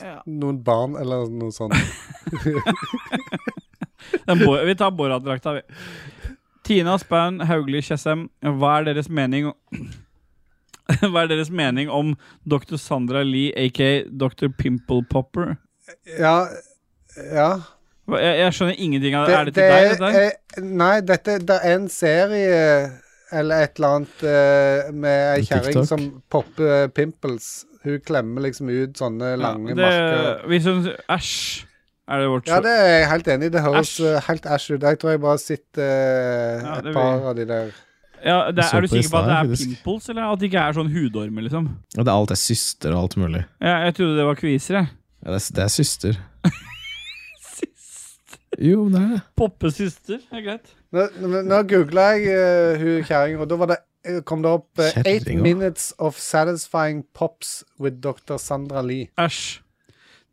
Ja. Noen barn eller noe sånt. Den bo vi tar Borat-drakta, vi. Tina Spann Hauglie Tjessem, hva er deres mening Hva er deres mening om dr. Sandra Lee, aka dr. Pimple Popper? Ja, ja. Hva- Jeg, jeg skjønner ingenting av det. Er det til det deg, dette her? er- eh, Nei, dette det er en serie eh, eller et eller annet eh, med ei kjerring TikTok? som popper eh, pimples. Hun klemmer liksom ut sånne lange Ja, marker. det, hvis hun Æsj! Er det vårt Ja, det er jeg helt enig i. Det høres Æsj. eh, helt æsj ut. Jeg tror jeg bare sitter eh, Ja, det et vil- par av de der. Ja, det, Jeg så er du på i sikker på at stad, det er faktisk. pimples, eller at det ikke er sånn hudormer, liksom? Og det er alt er syster og alt mulig. Ja, jeg trodde det var kviser, jeg. Ja, det, er, det er syster. Jo, men det er det. Poppesøster er greit. Nå, nå- nå googla jeg eh, hun kjerringa, og da var det, eh, kom det opp eh, Eight Kjerringa. minutes of satisfying pops with Dr. Sandra Lee. Æsj.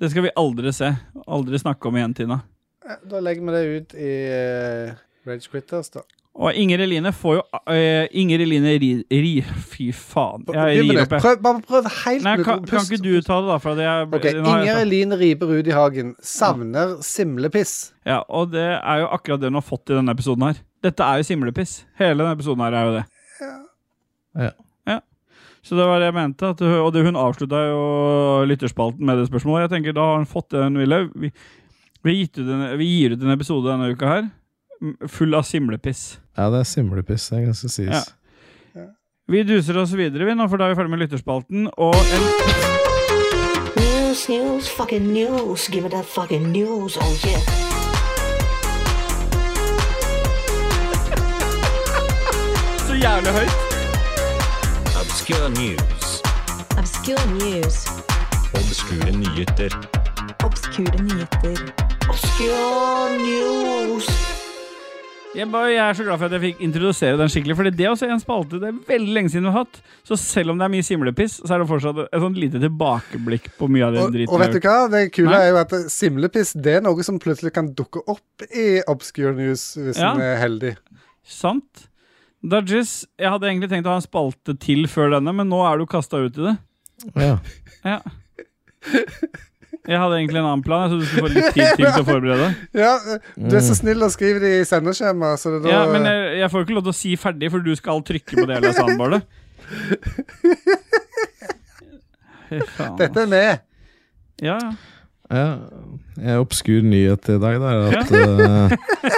Det skal vi aldri se. Aldri snakke om igjen, Tina. Eh, Da legger vi det ut i eh, Rage Quitters, da. Og Inger Eline får jo eh, Inger Eline ri, ri... Fy faen. Jeg Begynn rir med det. opp, jeg. Prøv, bare prøv helt Nei, med kan, ro. kan Pust. ikke du ta det, da? For at jeg, nå Ok, har jeg Inger sagt- Elin Ribe Rudihagen savner simlepiss. ja, Og det er jo akkurat det hun har fått i denne episoden her. Dette er jo simlepiss. Hele denne episoden her er jo det. Ja. Ja. Så det var det jeg mente. At, hun- og det, hun avslutta jo lytterspalten med det spørsmålet. Jeg tenker, Da har hun fått det hun ville. Vi, vi, har gitt ut en, vi gir ut en episode denne uka her m- full av simlepiss. Ja, det er simlepiss. Det kan skal sies. Ja. Vi duser oss videre, vi nå, for da er vi ferdig med lytterspalten. Og en News, news, fucking news. Give me that fucking news. Oh yeah. Så jævlig høyt! Obscure news. Obscure news. Obskure nyheter. Obskure nyheter. Obscure news. Jeg, bare, jeg er så glad for at jeg fikk introdusere den skikkelig, Fordi det er også en spalte det er veldig lenge siden vi har hatt. Så selv om det er mye simlepiss, så er det fortsatt et sånt lite tilbakeblikk på mye av den Og, driten. og vet vi du hva? Det kule Nei. er jo at simlepiss det er noe som plutselig kan dukke opp i Obscure News hvis Ja. en er heldig. har gjort. Sant? Dodges, jeg hadde egentlig tenkt å ha en spalte til før denne, men nå er du kasta ut i det. Ja. Ja. Jeg hadde egentlig en annen plan, jeg, så du skulle få litt tid til å forberede deg. Ja, eh, Du er så snill å skrive det i sendeskjemaet, så det da Ja, men eh, jeg, jeg får ikke lov til å si ferdig, for du skal trykke på det hele soundboardet. Fy faen. Dette er med. Ja, ja. Ja, en obskur nyhet i dag da, er at eh,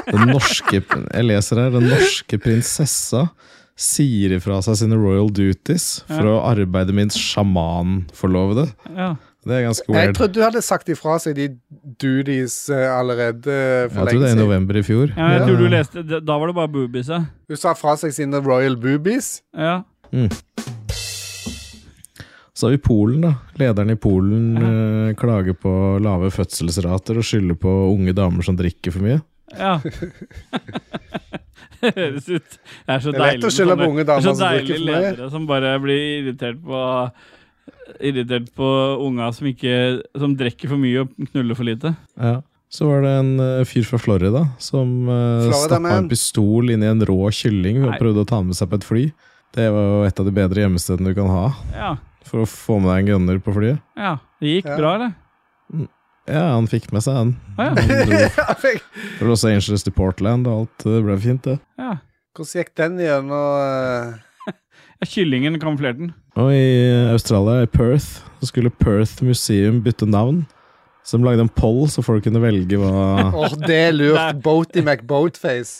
den norske Jeg leser her. Den norske prinsessa sier ifra seg sine royal duties for å arbeide med en sjamanforlovede. ja. Det er ganske Jeg weird. trodde du hadde sagt ifra seg de duties eh, allerede eh, for Jeg tror det er lenge i siden. november i fjor. Ja, jeg tror du leste Da da var det bare boobies, ja. Hun sa fra seg sine royal boobies. ja. Så har vi Polen, da. Lederen i Polen eh, klager på lave fødselsrater og skylder på unge damer som drikker for mye. Ja. Det høres ut Det er så Det er lett deilig å skylde med på unge sånne- det er damer så som drikker deilig for mye. ledere som bare blir irritert på Irritert på unga som ikke Som drikker for mye og knuller for lite. Ja. Så var det en eh, fyr fra Florida som uh, Florida stappa man. en pistol inn i en rå kylling og Nei. prøvde å ta den med seg på et fly. Det var jo et av de bedre gjemmestedene du kan ha Ja. for å få med deg en gunner på flyet. ja. Det gikk Ja. bra, eller? Ja, han fikk med seg en. Å, Han ja. dro Hvordan fra Los Angeles til Portland og alt. Det ble fint, det. ja. gikk den gjennom eh, ja kyllingen kamuflerte den. Og i eh, Australia, i Perth, så skulle Perth Museum bytte navn. Så de lagde en poll, så folk kunne velge hva Åh, det er lurt. Boaty McBoatface.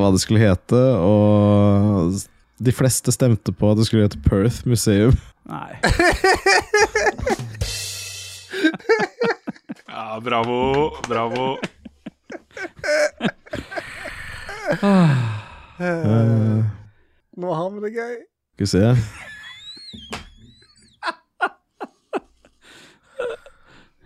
hva det skulle hete, og de fleste stemte på at det skulle hete Perth Museum. Nei. Ja, bravo, bravo. Eh, Nå har vi det gøy. Skal vi se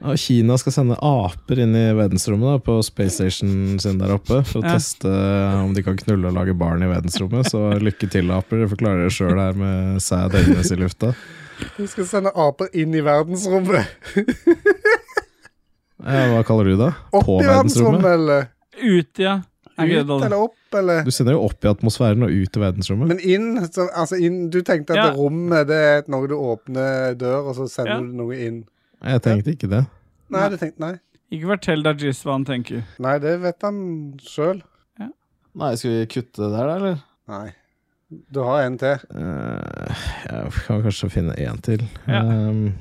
Og Kina skal sende aper inn i verdensrommet da, på Space Station sin der oppe for å Ja. teste eh, om de kan knulle og lage barn i verdensrommet. Så lykke til, aper. Dere får klare dere sjøl her med sæd hennes i lufta. Vi skal sende aper inn i verdensrommet. Ja, hva kaller du det? Opp På i verdensrommet, verdensrommet? eller? Ut, ja. Er ikke det Ut dårlig? eller opp, eller? Du sender jo opp i atmosfæren og ut i verdensrommet. Men inn, så, altså inn Du tenkte at Ja. det rommet det er noe du åpner dør, og så Ja. sender du noe inn. Jeg tenkte ikke det. Nei, du tenkte nei. Ikke fortell Dajis hva han tenker. Nei, det vet han sjøl. Nei, skal vi kutte det der, da, eller? Nei. Du har en til. Eh, jeg kan kanskje finne én til. Ja. Ehm,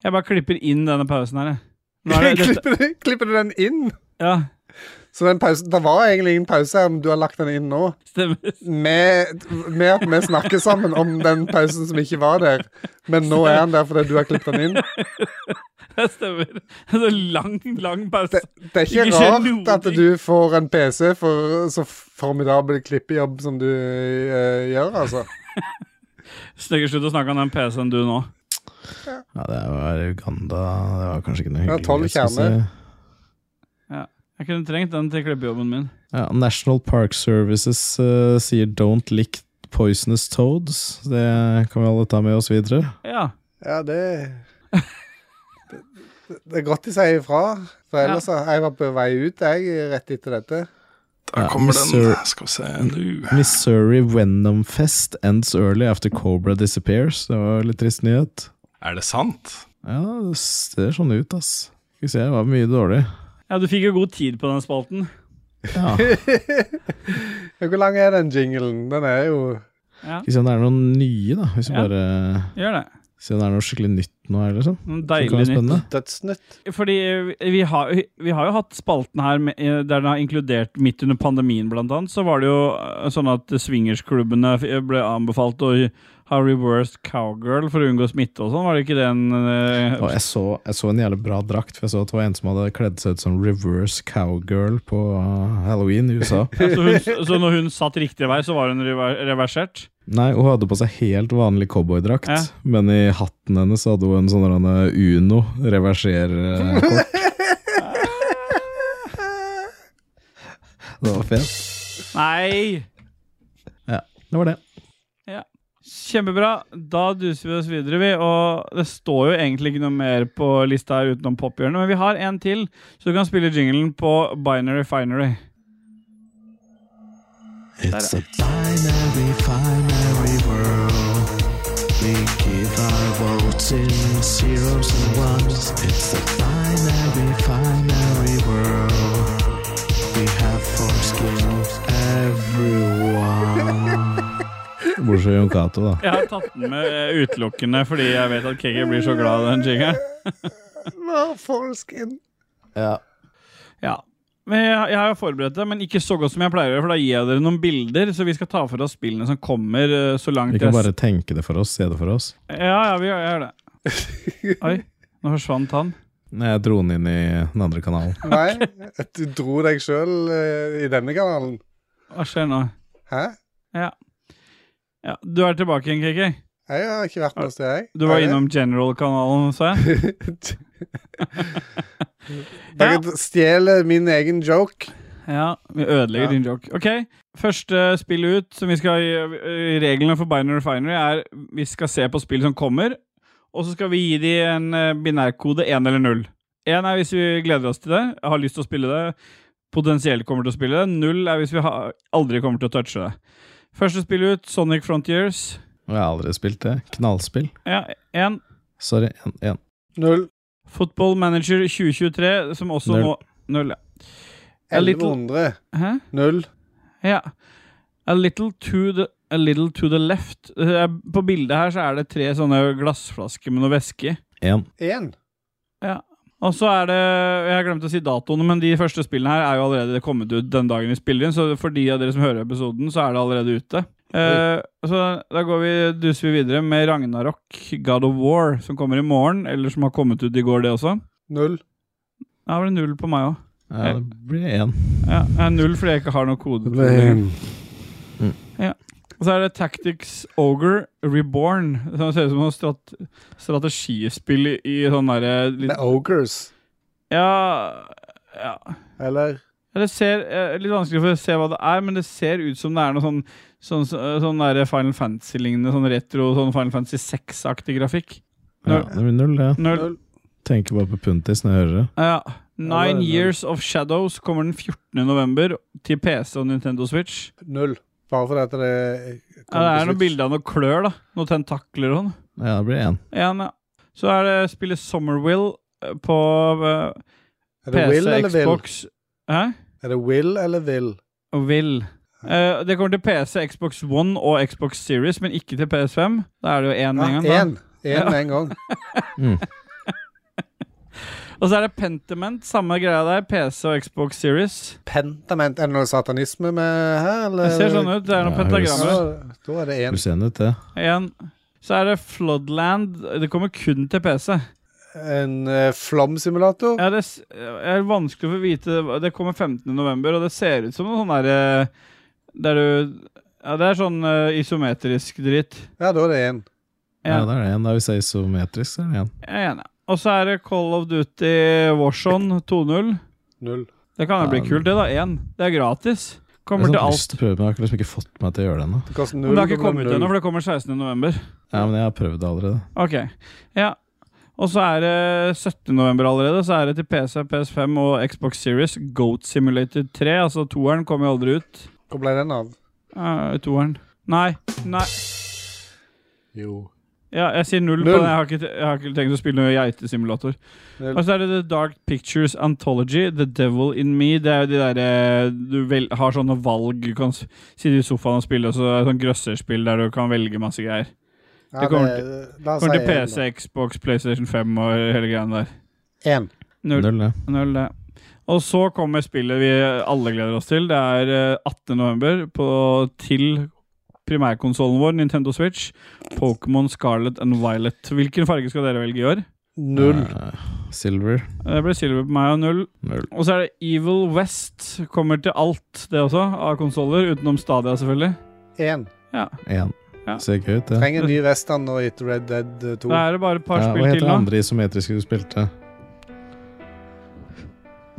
Jeg bare klipper inn denne pausen her, jeg. Nå er det- dette- klipper, du, klipper du den inn? Ja. Så den pausen, det var egentlig ingen pause her, men du har lagt den inn nå. Med, med at vi snakker sammen om den pausen som ikke var der. Men nå er den der fordi du har klippet den inn. Det stemmer. Det er lang, lang pause. Det er ikke rart at du får en PC for så formidabel klippejobb som du eh, gjør, altså. Snøgger, slutt å snakke om den PC-en du nå. Ja, det var Uganda Det var kanskje ikke noe Ja, hyggelig. tolv jeg skulle kjerner. si. Ja. Jeg kunne trengt den til klippejobben min. Ja, National Park Services eh, sier 'don't lick poisonous toads'. Det kan vi alle ta med oss videre. Ja. Ja, det Det, det er godt de sier ifra. For ellers så- jeg var på vei ut, jeg, rett etter dette. Ja, kommer den. Missouri- Skal vi se nå. Missouri Venom Fest ends early after Cobra disappears. Det var litt trist nyhet. Er det sant? Ja, det ser sånn ut, ass. Skal vi se, det var mye dårlig. Ja, du fikk jo god tid på den spalten. Ja. Ja, Hvor lang er den jinglen? Den er jo Ja. Skal vi se om det er noen nye, da. Hvis vi Ja. bare Gjør det. Se om det er noe skikkelig nytt nå her, liksom. Noe Som kan være deilig nytt. spennende. Dødsnytt. Fordi eh, vi har, vi har jo hatt spalten her med, eh, der den har inkludert midt under pandemien, blant annet. Så var det jo eh, sånn at swingersklubbene f- ble anbefalt å ha reversed cowgirl for å unngå smitte og sånn. Var det ikke den eh, Og jeg så, jeg så en jævlig bra drakt, for jeg så at det var en som hadde kledd seg ut som reverse cowgirl på uh, halloween i USA. ja, så, hun, så når hun satt riktig vei, så var hun rever reversert? Nei, hun hadde på seg helt vanlig cowboydrakt, Ja. men i hatten hennes hadde hun en sånn der, eh, Uno eh, reverser-kort. Det var fett. Nei! Ja, det var det. Ja. Kjempebra. Da duser vi oss videre, vi. Og det står jo egentlig ikke noe mer på lista her utenom pophjørnet, men vi har en til, så du kan spille jinglen på Binary Finery. It's a binary, binary world. We give our votes in zeros and ones. It's a binary, binary world. We have foreskin everyone. Bortsett fra Jon Cato, da. Jeg har tatt den med eh, utelukkende fordi jeg vet at Kegger blir så glad av den jingelen. Hva, Foreskin? Ja. Ja. Men jeg, jeg har jo forberedt det, men ikke så godt som jeg pleier å gjøre, for da gir jeg dere noen bilder, så vi skal ta for oss spillene som kommer eh, så langt Vi kan jeg- bare tenke det for oss, se det for oss. Ja, ja, vi gjør, gjør det. Oi, nå forsvant han. Nei, Jeg dro den inn i den andre kanalen. Nei, du dro deg sjøl i denne kanalen. Hva skjer nå? Hæ? Ja. ja. Du er tilbake igjen, KK. Jeg har ikke vært noe sted, jeg. Du var Er det? innom General-kanalen, sa jeg. Dere stjeler min egen joke. Ja, vi ødelegger Ja. din joke. Ok, første spill ut som vi skal eh, Reglene for Binary Refinery er vi skal se på spill som kommer, og så skal vi gi de en eh, binærkode 1 eller 0. 1 er hvis vi gleder oss til det, har lyst til å spille det, potensielt kommer til å spille det. 0 er hvis vi har, aldri kommer til å touche det. Første spill ut, Sonic Frontiers. Og jeg har aldri spilt det. Knallspill. Ja, 1. Sorry, en- en. Null. Football Manager 2023, som også Null. nå Null, ja. A little- 1100. Hæ? Null. Ja. A little to the A little to the left. Eh, På bildet her så er det tre sånne glassflasker med noe væske i. En. Én. Ja. Og så er det Jeg har glemt å si datoene, men de første spillene her er jo allerede kommet ut den dagen vi spiller inn, så for de av dere som hører episoden, så er det allerede ute. Eh, så da går vi, duser vi videre med Ragnarok, God of War, som kommer i morgen, eller som har kommet ut i går, det også. Null. Da var det null på meg òg. Ja, det blir én. Ja, jeg er null fordi jeg ikke har noen kode. til Lame. det. Ja. Og så er det Tactics Ogre Reborn. Som ser ut som noe strat strategispill i, i sånn derre litt- Det er Ogres. Ja, ja. Eller? Det ser, eh, litt vanskelig for å se hva det er, men det ser ut som det er noe sånn, sånn, sånn der Final Fantasy-lignende, sånn retro sånn Final Fantasy 6-aktig grafikk. Ja, det blir null, det. Null. Tenker bare på Puntis når jeg hører det. Ja. Ja, det er Nine null. Years of Shadows kommer den 14. november til PC og Nintendo Switch. Null. Bare fordi at det Ja, det er noen bilder av noen klør, da. Noen tentakler og sånn. Ja, det blir én. En, ja. Så er det spillet Summerwill eh, på eh, Er det Will PC, eller Will? Xbox Hæ? Er det Will eller Will? Og Will. Eh, det kommer til PC, Xbox One og Xbox Ah, Series, men ikke til PS5. Da er det jo én med en gang. da. Én. Én med en gang. Mm. Og så er det Pentiment, samme greia der. PC og Xbox Series. Pentament, Er det noe satanisme med her, eller? Det ser sånn ut. Det er noen Ja, det pentagrammer. Da er det Du én. sender ut det. Igjen. Så er det Floodland. Det kommer kun til PC. En uh, flomsimulator? Ja, det s- eh, er vanskelig å få vite. Det kommer 15. november, og det ser ut som noe sånn derre Der du Ja, det er sånn eh, isometrisk dritt. Ja, da er det én. Ja, det er det en. Da vi sier isometrisk, så er det en. Jeg er enig. Og så er det Call of Duty Warzone 2.0. Null. Det kan jo bli kult, det, da. Én. Det er gratis. Jeg Kommer har til sånn alt. lyst til å prøve, men jeg har ikke liksom ikke fått meg til å gjøre det ennå. Det koster Men null. det har ikke da blir kommet ut null. ennå, for det kommer 16. november. Ja, men jeg har prøvd det allerede. Ok, ja Og så er det 17. november allerede Så er det til PC, PS5 og Xbox Series Goat Simulator 3 Altså toeren kommer jo aldri ut Hvor ble den av? Eh, Toeren Nei, nei Jo. Ja, jeg sier null, på Null. den Jeg har, ikke, jeg har ikke tenkt å spille noen geitesimulator Null. Og så er det The Dark Pictures Anthology The Devil in Me Det er jo de der eh, Du vel, har sånne valg Du kan s- sitte i sofaen og spille Og så er det sånn grøsserspill Der du kan velge masse greier Ja, Det kommer det- til, la oss kommer til si en, PC, Xbox, Playstation 5 Og hele greien der Én. Null. Null, ja. Null, det. Og så kommer spillet vi alle gleder oss til. Det er eh, 18. november på, til primærkonsollen vår, Nintendo Switch. Pokémon Scarlet and Violet. Hvilken farge skal dere velge i år? Null. Eh, silver. Det ble silver på meg og null. Null. Og så er det Evil West. Kommer til alt, det også, av konsoller. Utenom Stadia, selvfølgelig. Én. Ja. Én. Ja. Ser ikke ut, det. Trenger en ny Western nå etter Red Dead eh, 2. Da er det bare et par Ja, hva spill heter til det nå. andre isometriske du spilte?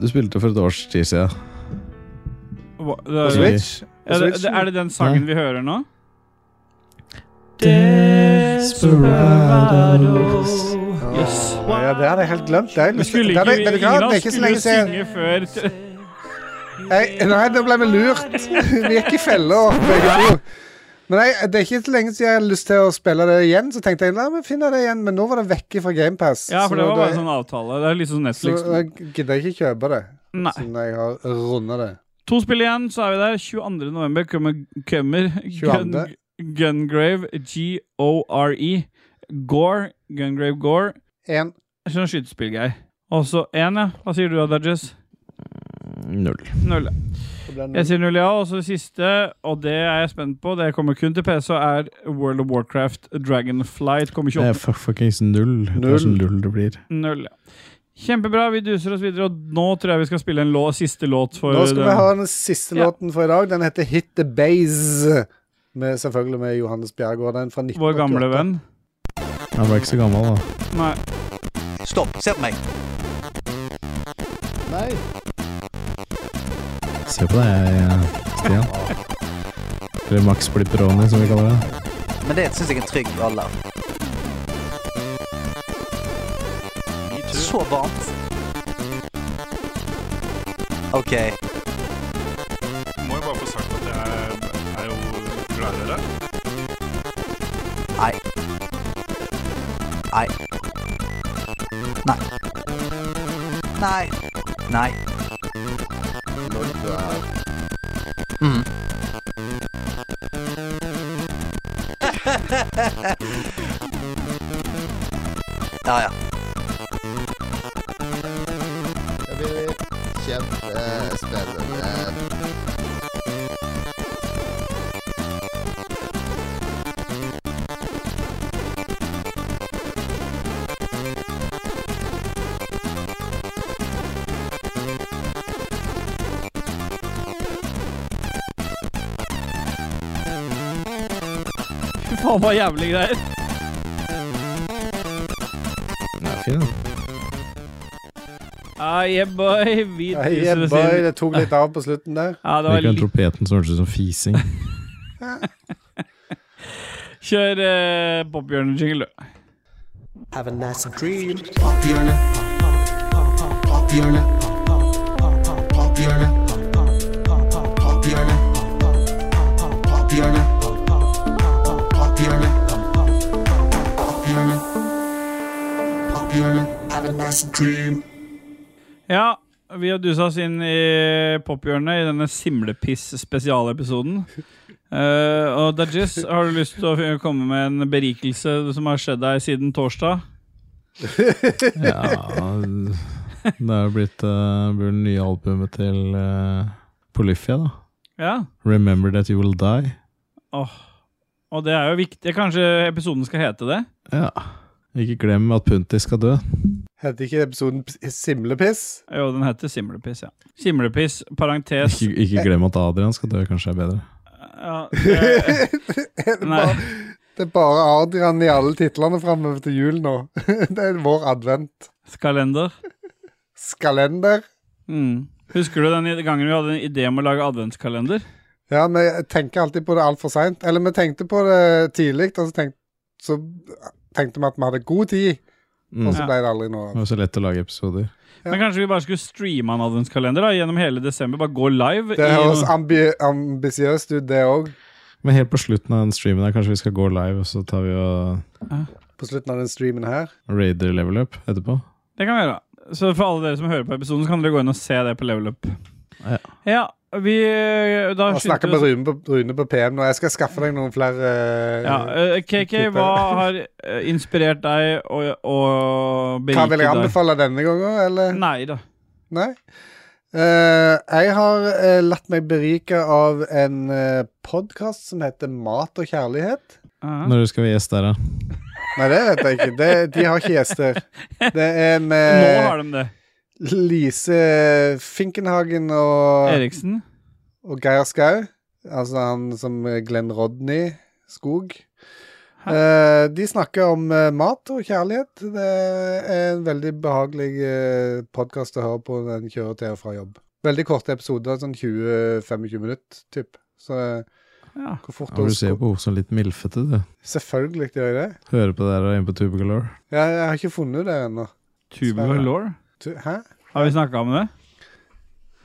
Du spilte for et års tid siden. Hva- det På er- Switch? Ja, det, det, Switchen? er det den sangen vi hører nå? Desperados. Yes. Å, Ja, det hadde jeg helt glemt. Det, er Vi litt- skulle det, ikke, er- vet du hva, det ingen av er oss ikke så skulle lenge siden. synge før til- Jeg, nei, da ble vi lurt. Vi gikk i fella, begge to. Men jeg, det er ikke så lenge siden jeg har lyst til å spille det igjen. Så tenkte jeg la meg finne det igjen, men nå var det vekke fra GamePass. Ja, for det var bare en sånn avtale. Det er liksom sånn så eh, Netflix. jeg gidder jeg ikke kjøpe det, Nei. siden jeg har runda det. To spill igjen, så er vi der. 22. november kommer, kommer Gun, 22.. Gungrave G-O-R-E. E. Gore. Gungrave Gore. En. Sånn skytespillgreier. Og så én, ja. Hva sier du da, Dudges? Null. Null. Det ble Jeg null. sier null, ja. Og så det siste, og det er jeg spent på, det kommer kun til PC, er World of Warcraft Dragonflight. Kommer Det er 28. fuck- fuckings null. Det Null. er sånn null det blir. Null, ja. Kjempebra. Vi duser oss videre, og nå tror jeg vi skal spille en lå, siste låt for Nå skal den. vi ha den siste Ja. låten for i dag. Den heter Hit the Base. Med, selvfølgelig med Johannes Bjerregaard. Den fra 1988. eh, vår gamle venn. Han ble ikke så gammel, da. Nei. Stopp. Sett meg. Nei. Se på deg, eh, Stian. Eller Max Blipperoni, som vi kaller det. Men det syns jeg er en trygg alder. Så varmt. OK. Må jo bare få sagt at jeg er jo glad i dere. Nei. Nei. Nei. Nei. Nei. Mm. ja, ja. Jeg blir kjempespennende. Fy faen, hva jævlig greier. Ja, fin, da. Ah, yeah, boy. Vi Ja, duser yeah, oss boy, inn. det tok litt av på slutten der. Ja, det var Liker den litt tropeten som hørtes ut som fising. Kjør uh, Bobbjørn-jingle, du. Have a nice dream. Pophjørnet. Pophjørnet. Pophjørnet. Pophjørnet. Pophjørnet. Pophjørnet. Pophjørnet. Pophjørnet. Have a nice dream. Ja, vi har dusa oss inn i pophjørnet i denne Simlepiss-spesialepisoden. Eh, og Dajis, har du lyst til å komme med en berikelse som har skjedd deg siden torsdag? ja Det er jo blitt eh, blir det nye albumet til uh, Polyphia, da. Ja. 'Remember That You Will Die'. Åh. Og det er jo viktig. Kanskje episoden skal hete det? Ja. Ikke glem at Punti skal dø. Heter ikke episoden P- Simlepiss? Jo, den heter Simlepiss, ja. Simlepiss, parentes Ikke, ikke glem at Adrian skal dø, kanskje er bedre. Ja, det- Nei. Det er bare Adrian i alle titlene framover til jul nå. Det er vår advent. Skalender. Skalender. Mm. Husker du den i- gangen vi hadde en idé om å lage adventskalender? Ja, vi tenker alltid på det altfor seint. Eller vi tenkte på det tidlig, og så, tenk, så tenkte vi at vi hadde god tid. Og så Ja. ble det aldri noe Det av. var så lett å lage episoder. Men kanskje vi bare skulle streame en adventskalender da, gjennom hele desember? Bare gå live? Det i- høres ambi ambisiøst ut, det òg. Men helt på slutten av den streamen her, kanskje vi skal gå live, og så tar vi og På slutten av den streamen her. raider level up etterpå. Det kan vi gjøre. Så for alle dere som hører på episoden, så kan dere gå inn og se det på Level Up. Ja. Ja, vi eh, da Og skyndte snakke vi med oss- Rune på, Rune på PM nå. Jeg skal skaffe deg noen flere eh, Ja, eh, KK, hva har eh, inspirert deg og, og Hva beriket vil jeg deg? anbefale denne gangen, eller? Nei da. Nei? Eh, jeg har eh, latt meg berike av en uh, podkast som heter Mat og kjærlighet. Når skal vi gjeste der, da? Nei, det vet jeg ikke. Det, de har ikke gjester. Det er Nå med har de det. Lise Finkenhagen og Eriksen? Og Geir Skau. Altså han som eh, Glenn Rodney Skog. Eh, de snakker om eh, mat og kjærlighet. Det er en veldig behagelig eh, podkast å høre på når en kjører til og fra jobb. Veldig korte episoder, sånn 20-25 minutter, typ. Så ja. hvor fort Ja, du du ser jo på henne som litt milfete, du. Selvfølgelig gjør jeg det. Hører på det der og er inne på Tube Galore. Jeg, jeg har ikke funnet det ennå. Tubular Sverre. Lore? Tu- Hæ? Har vi snakka om det?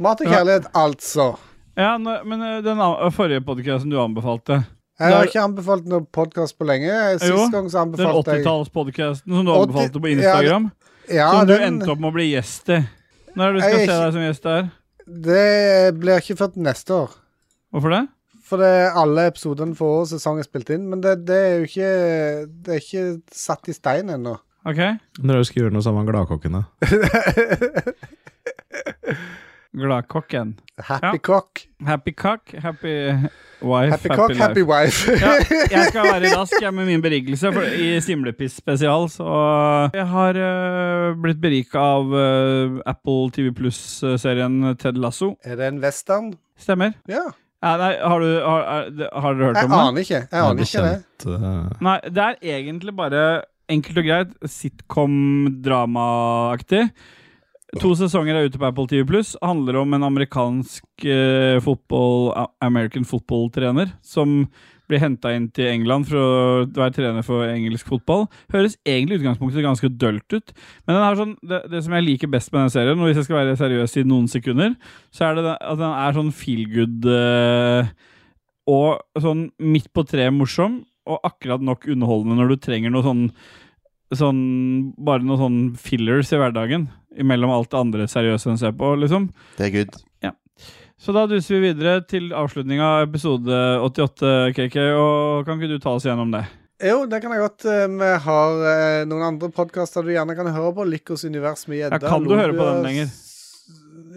Mat og Ja. kjærlighet, altså. Ja, nå- men eh, den an- forrige podkasten du anbefalte Jeg der- har ikke anbefalt noen podkast på lenge. Sist Jo, gang så Den anbefalte jeg 80-tallspodkasten som du 80 anbefalte på Instagram? Ja, ja, som du den- endte opp med å bli gjest i. Når er det du skal Jeg se er ikke- deg som gjest der? Det blir ikke før neste år. Hvorfor det? For det er alle episodene for vår sesong er spilt inn. Men det, det er jo ikke Det er ikke satt i stein ennå. Ok? Når er det du skal gjøre noe sammen med Gladkokkene? Gladkokken. Happy cock. Happy cock, happy wife, Happy cock, life. happy wife. ja, jeg skal være rask jeg, med min berikelse for, i Simlepiss spesial. Så jeg har eh, blitt berika av eh, Apple TV Pluss-serien Ted Lasso. Er det en western? Stemmer. Ja. Ja, nei, har, du, har, er, det- har dere hørt Jeg om det? aner ikke. Jeg aner ikke det. eh, Nei, det er egentlig bare enkelt og greit sitcom-dramaaktig. To sesonger er ute på Apple TV Handler om en amerikansk eh, fotball, a- American football-trener som blir henta inn til England for å være trener for engelsk fotball. Høres egentlig i utgangspunktet ganske dølt ut, men den har sånn, det, det som jeg liker best med den serien, og hvis jeg skal være seriøs i noen sekunder, så er det den- at den er sånn feel good eh, og sånn midt på treet morsom, og akkurat nok underholdende når du trenger noe sånn, sånn Bare noe sånn fillers i hverdagen imellom alt det andre seriøse en ser på, liksom. Det er good. Ja. Så da duser vi videre til avslutninga av episode 88, KK, og kan ikke du ta oss gjennom det? Jo, det kan jeg godt. Eh, Vi har eh, noen andre podkaster du gjerne kan høre på. Lykkos univers med gjedda. Ja, kan du høre på den Lombias- lenger?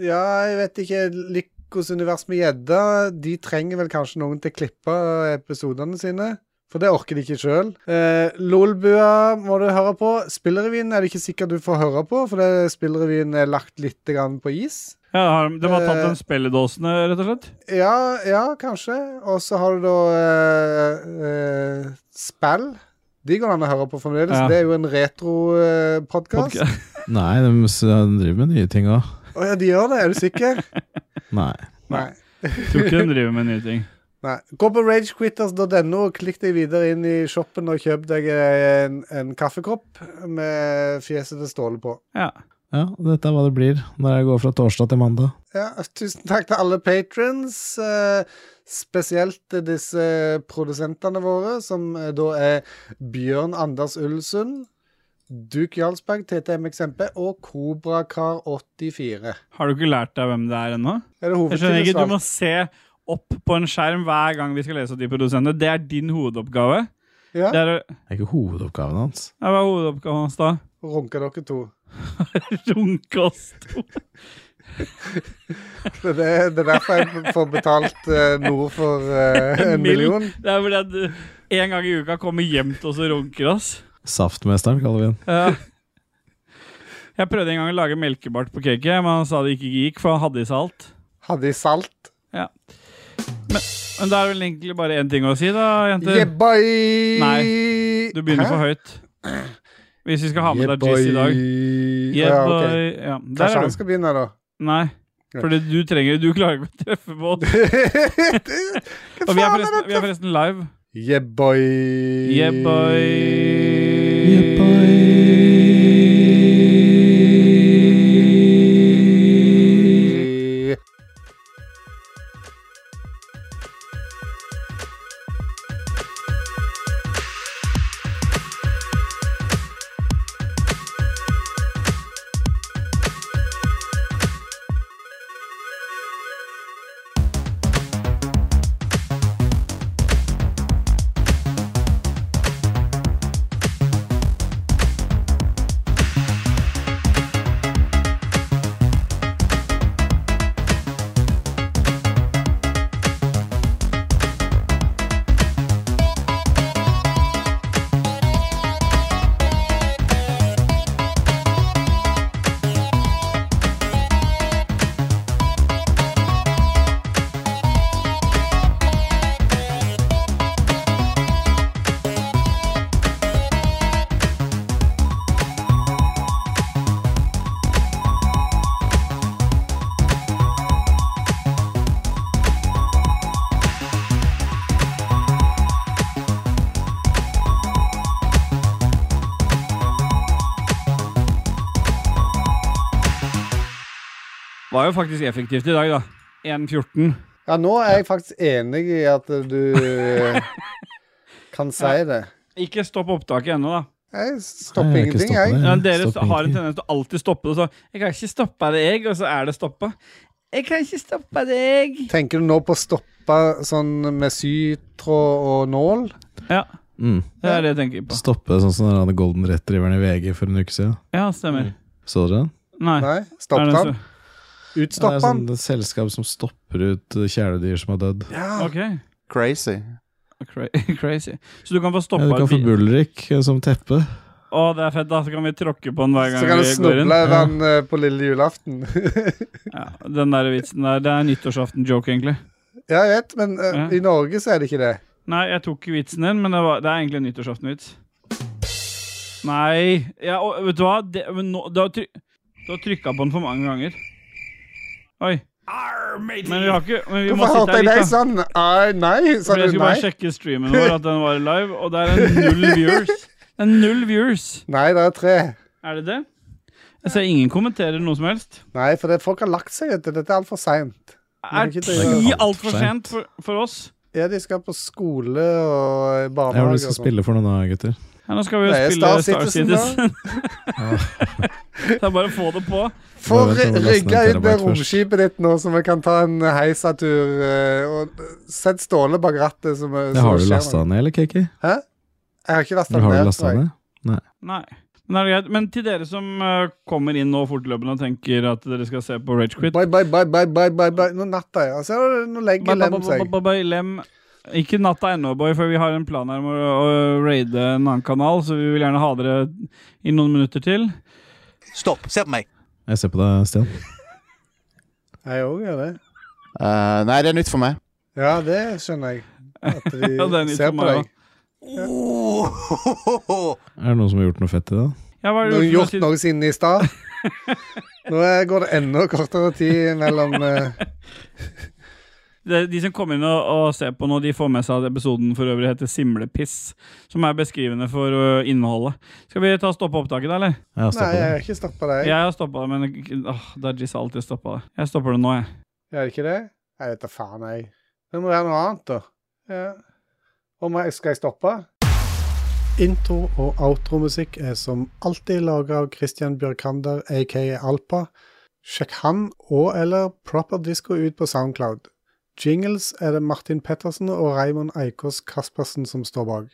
Ja, jeg vet ikke. Lykkos univers med gjedda, de trenger vel kanskje noen til å klippe episodene sine. For det orker de ikke sjøl. Eh, Lolbua må du høre på. Spillrevyen er det ikke sikkert du får høre på, for det, spillrevyen er lagt litt grann på is. Ja, har- De har tatt Eh, den spilledåsene, rett og slett? Ja, ja, kanskje. Og så har du da eh, eh, spill. De går an å høre på fremdeles. Ja. Det er jo en eh, retro-podkast. Nei, de, s- de driver med nye ting òg. Å ja, de gjør det. Er du sikker? Nei. Nei. Tror ikke de driver med nye ting. Nei. Gå på ragequitters.no og klikk deg videre inn i shoppen og kjøp deg en, en kaffekopp med fjeset til Ståle på. Ja. Ja, dette er hva det blir når jeg går fra torsdag til mandag. Ja, tusen takk til alle patrons, eh, spesielt til disse produsentene våre, som eh, da er Bjørn Anders Ulsund, Duke Jarlsberg, TTMXMP og Kobrakar84. Har du ikke lært deg hvem det er ennå? Er det Jeg skjønner ikke, hovedtillitsvalgt? Du må se opp på en skjerm hver gang vi skal lese opp de produsentene. Det er din hovedoppgave. Ja. Det er, Det er ikke hovedoppgaven hans. Ja, Hva er hovedoppgaven hans da? Runka dere to. Runka oss to. Det er, det er derfor jeg får betalt eh, noe for eh, en million. Det er fordi at eh, en gang i uka kommer hjem til oss og runker oss. Saftmesteren, kaller vi den. Ja. Jeg prøvde en gang å lage melkebart på cake, men han sa det ikke gikk, for han hadde i seg alt. Hadde i salt. Ja. Men, men da er det vel egentlig bare én ting å si, da, jenter. Yeah, boy! Nei, du begynner Hæ? for høyt. Hvis vi skal ha med Yeah, deg Jizz i dag. boy. Yeah, Ja, ok. boy. Ja, der er Kanskje du. han skal begynne, da. Nei. Fordi du trenger Du klarer ikke å treffe på oss. Og vi er, forresten, vi er forresten live. Yeah, boy. Yeah, boy. Var jo faktisk effektivt i dag, da. 1.14. Ja, nå er jeg faktisk enig i at du eh, kan si det. Ikke stopp opptaket ennå, da. Jeg stopper Nei, jeg vil ikke ingenting, stoppe jeg. det. Ja, Mm, dere Stopper har en ingenting. tendens til å alltid stoppe det. Så 'Jeg kan ikke stoppe det, jeg', og så er det stoppa. Jeg kan ikke stoppe deg. Tenker du nå på å stoppe sånn med sytråd og nål? Ja. Mm. Det er det jeg tenker på. Stoppe sånn som den der Golden Retrieveren i VG for en uke siden. Ja, Mm. stemmer. Så dere den? Nei. stopp Er det den. så- det er Utstopp den. sånn et selskap som stopper ut eh, kjæledyr som har dødd. Ja. Ok. Crazy. Cra crazy. Så du kan få Ja, stoppa du kan et få bi- Bulrik eh, som teppe. Å, det er fett, da. Så kan vi tråkke på den hver gang Så kan du vi går inn. snuble over den eh, på lille julaften. Den der vitsen der. Det er nyttårsaften-joke, egentlig. ja, jeg vet, men eh, Ja. i Norge så er det ikke det. Nei, jeg tok ikke vitsen din, men det, var, det er egentlig en nyttårsaften-vits. Nei ja, og, Vet du hva? Det, men nå, du har, try, du har trykka på den for mange ganger. Oi. Men vi har ikke men vi må sitte Hvorfor hørte her jeg litt, deg da. sånn? Nei, nei, sa Fordi jeg du skulle nei? bare sjekke streamen vår, at den var live, og det er null viewers. Det er null viewers. Nei, det er tre. Er det det? Jeg ser ingen kommenterer noe som helst. Nei, for det, folk har lagt seg, vet du. Dette er altfor seint. Er ti altfor sent for, for oss? Ja, de skal på skole og Jeg har lyst barnehage til og å sånn. spille for noen da, gutter. Ja, nå skal vi jo Det er spille Star Star Citizen, Citizen. det er bare å få det på. For Bare vent til å laste ned rygga ut det terabyte først. romskipet ditt nå, så vi kan ta en heisatur. eh, Og sett Ståle bak rattet. Som, Det har du lasta ned, eller, Kiki? Hæ? Jeg har ikke lasta den Har du ned. lastet tror jeg. ned? Nei. Nei. Men, er det greit? Men til dere som eh, kommer inn nå fortløpende og tenker at dere skal se på Rage Quit Bye, bye, bye, bye, bye, bye, bye. Nå natta jeg. Altså, nå legger Bye, bye, Lem bye, seg. bye, bye, bye, Lem. Ikke natta ennå, boy, for vi har en plan her om å, å raide en annen kanal, så vi vil gjerne ha dere i noen minutter til. Stopp. Se på meg. Jeg ser på deg, Stian. Jeg òg gjør det. Eh, nei, det er nytt for meg. Ja, det skjønner jeg. At de Ja, det er nytt ser for på meg deg. Oh. Er det noen som har gjort noe fett i dag? Ja, hva er Du det du har gjorde gjort siden- noe siden i stad. Nå er- går det enda kortere tid mellom eh, Det, de som kommer inn og, og ser på nå, de får med seg at episoden for øvrig heter Simlepiss, som er beskrivende for ø, innholdet. Skal vi ta og stoppe opptaket, da, eller? Jeg har Nei, stoppet jeg det. har ikke stoppa deg. Jeg har stoppa det, men åh, Dajis har alltid stoppa det. Jeg stopper det nå, jeg. Gjør det ikke det? Jeg vet da faen, jeg. Det må være noe annet, da. Ja. Om jeg, skal jeg stoppe? Intro- og outromusikk er som alltid laga av Christian Bjørkander, aka Alpa. Sjekk han og eller Proper Disco ut på Soundcloud. Jingles er det Martin Pettersen og Raymond Eikås Kaspersen som står bak.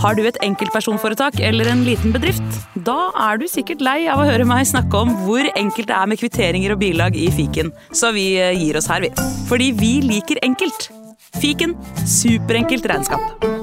Har du et enkeltpersonforetak eller en liten bedrift? Da er du sikkert lei av å høre meg snakke om hvor enkelt det er med kvitteringer og bilag i fiken, så vi eh, gir oss her, vi. Fordi vi liker enkelt. Fiken superenkelt regnskap.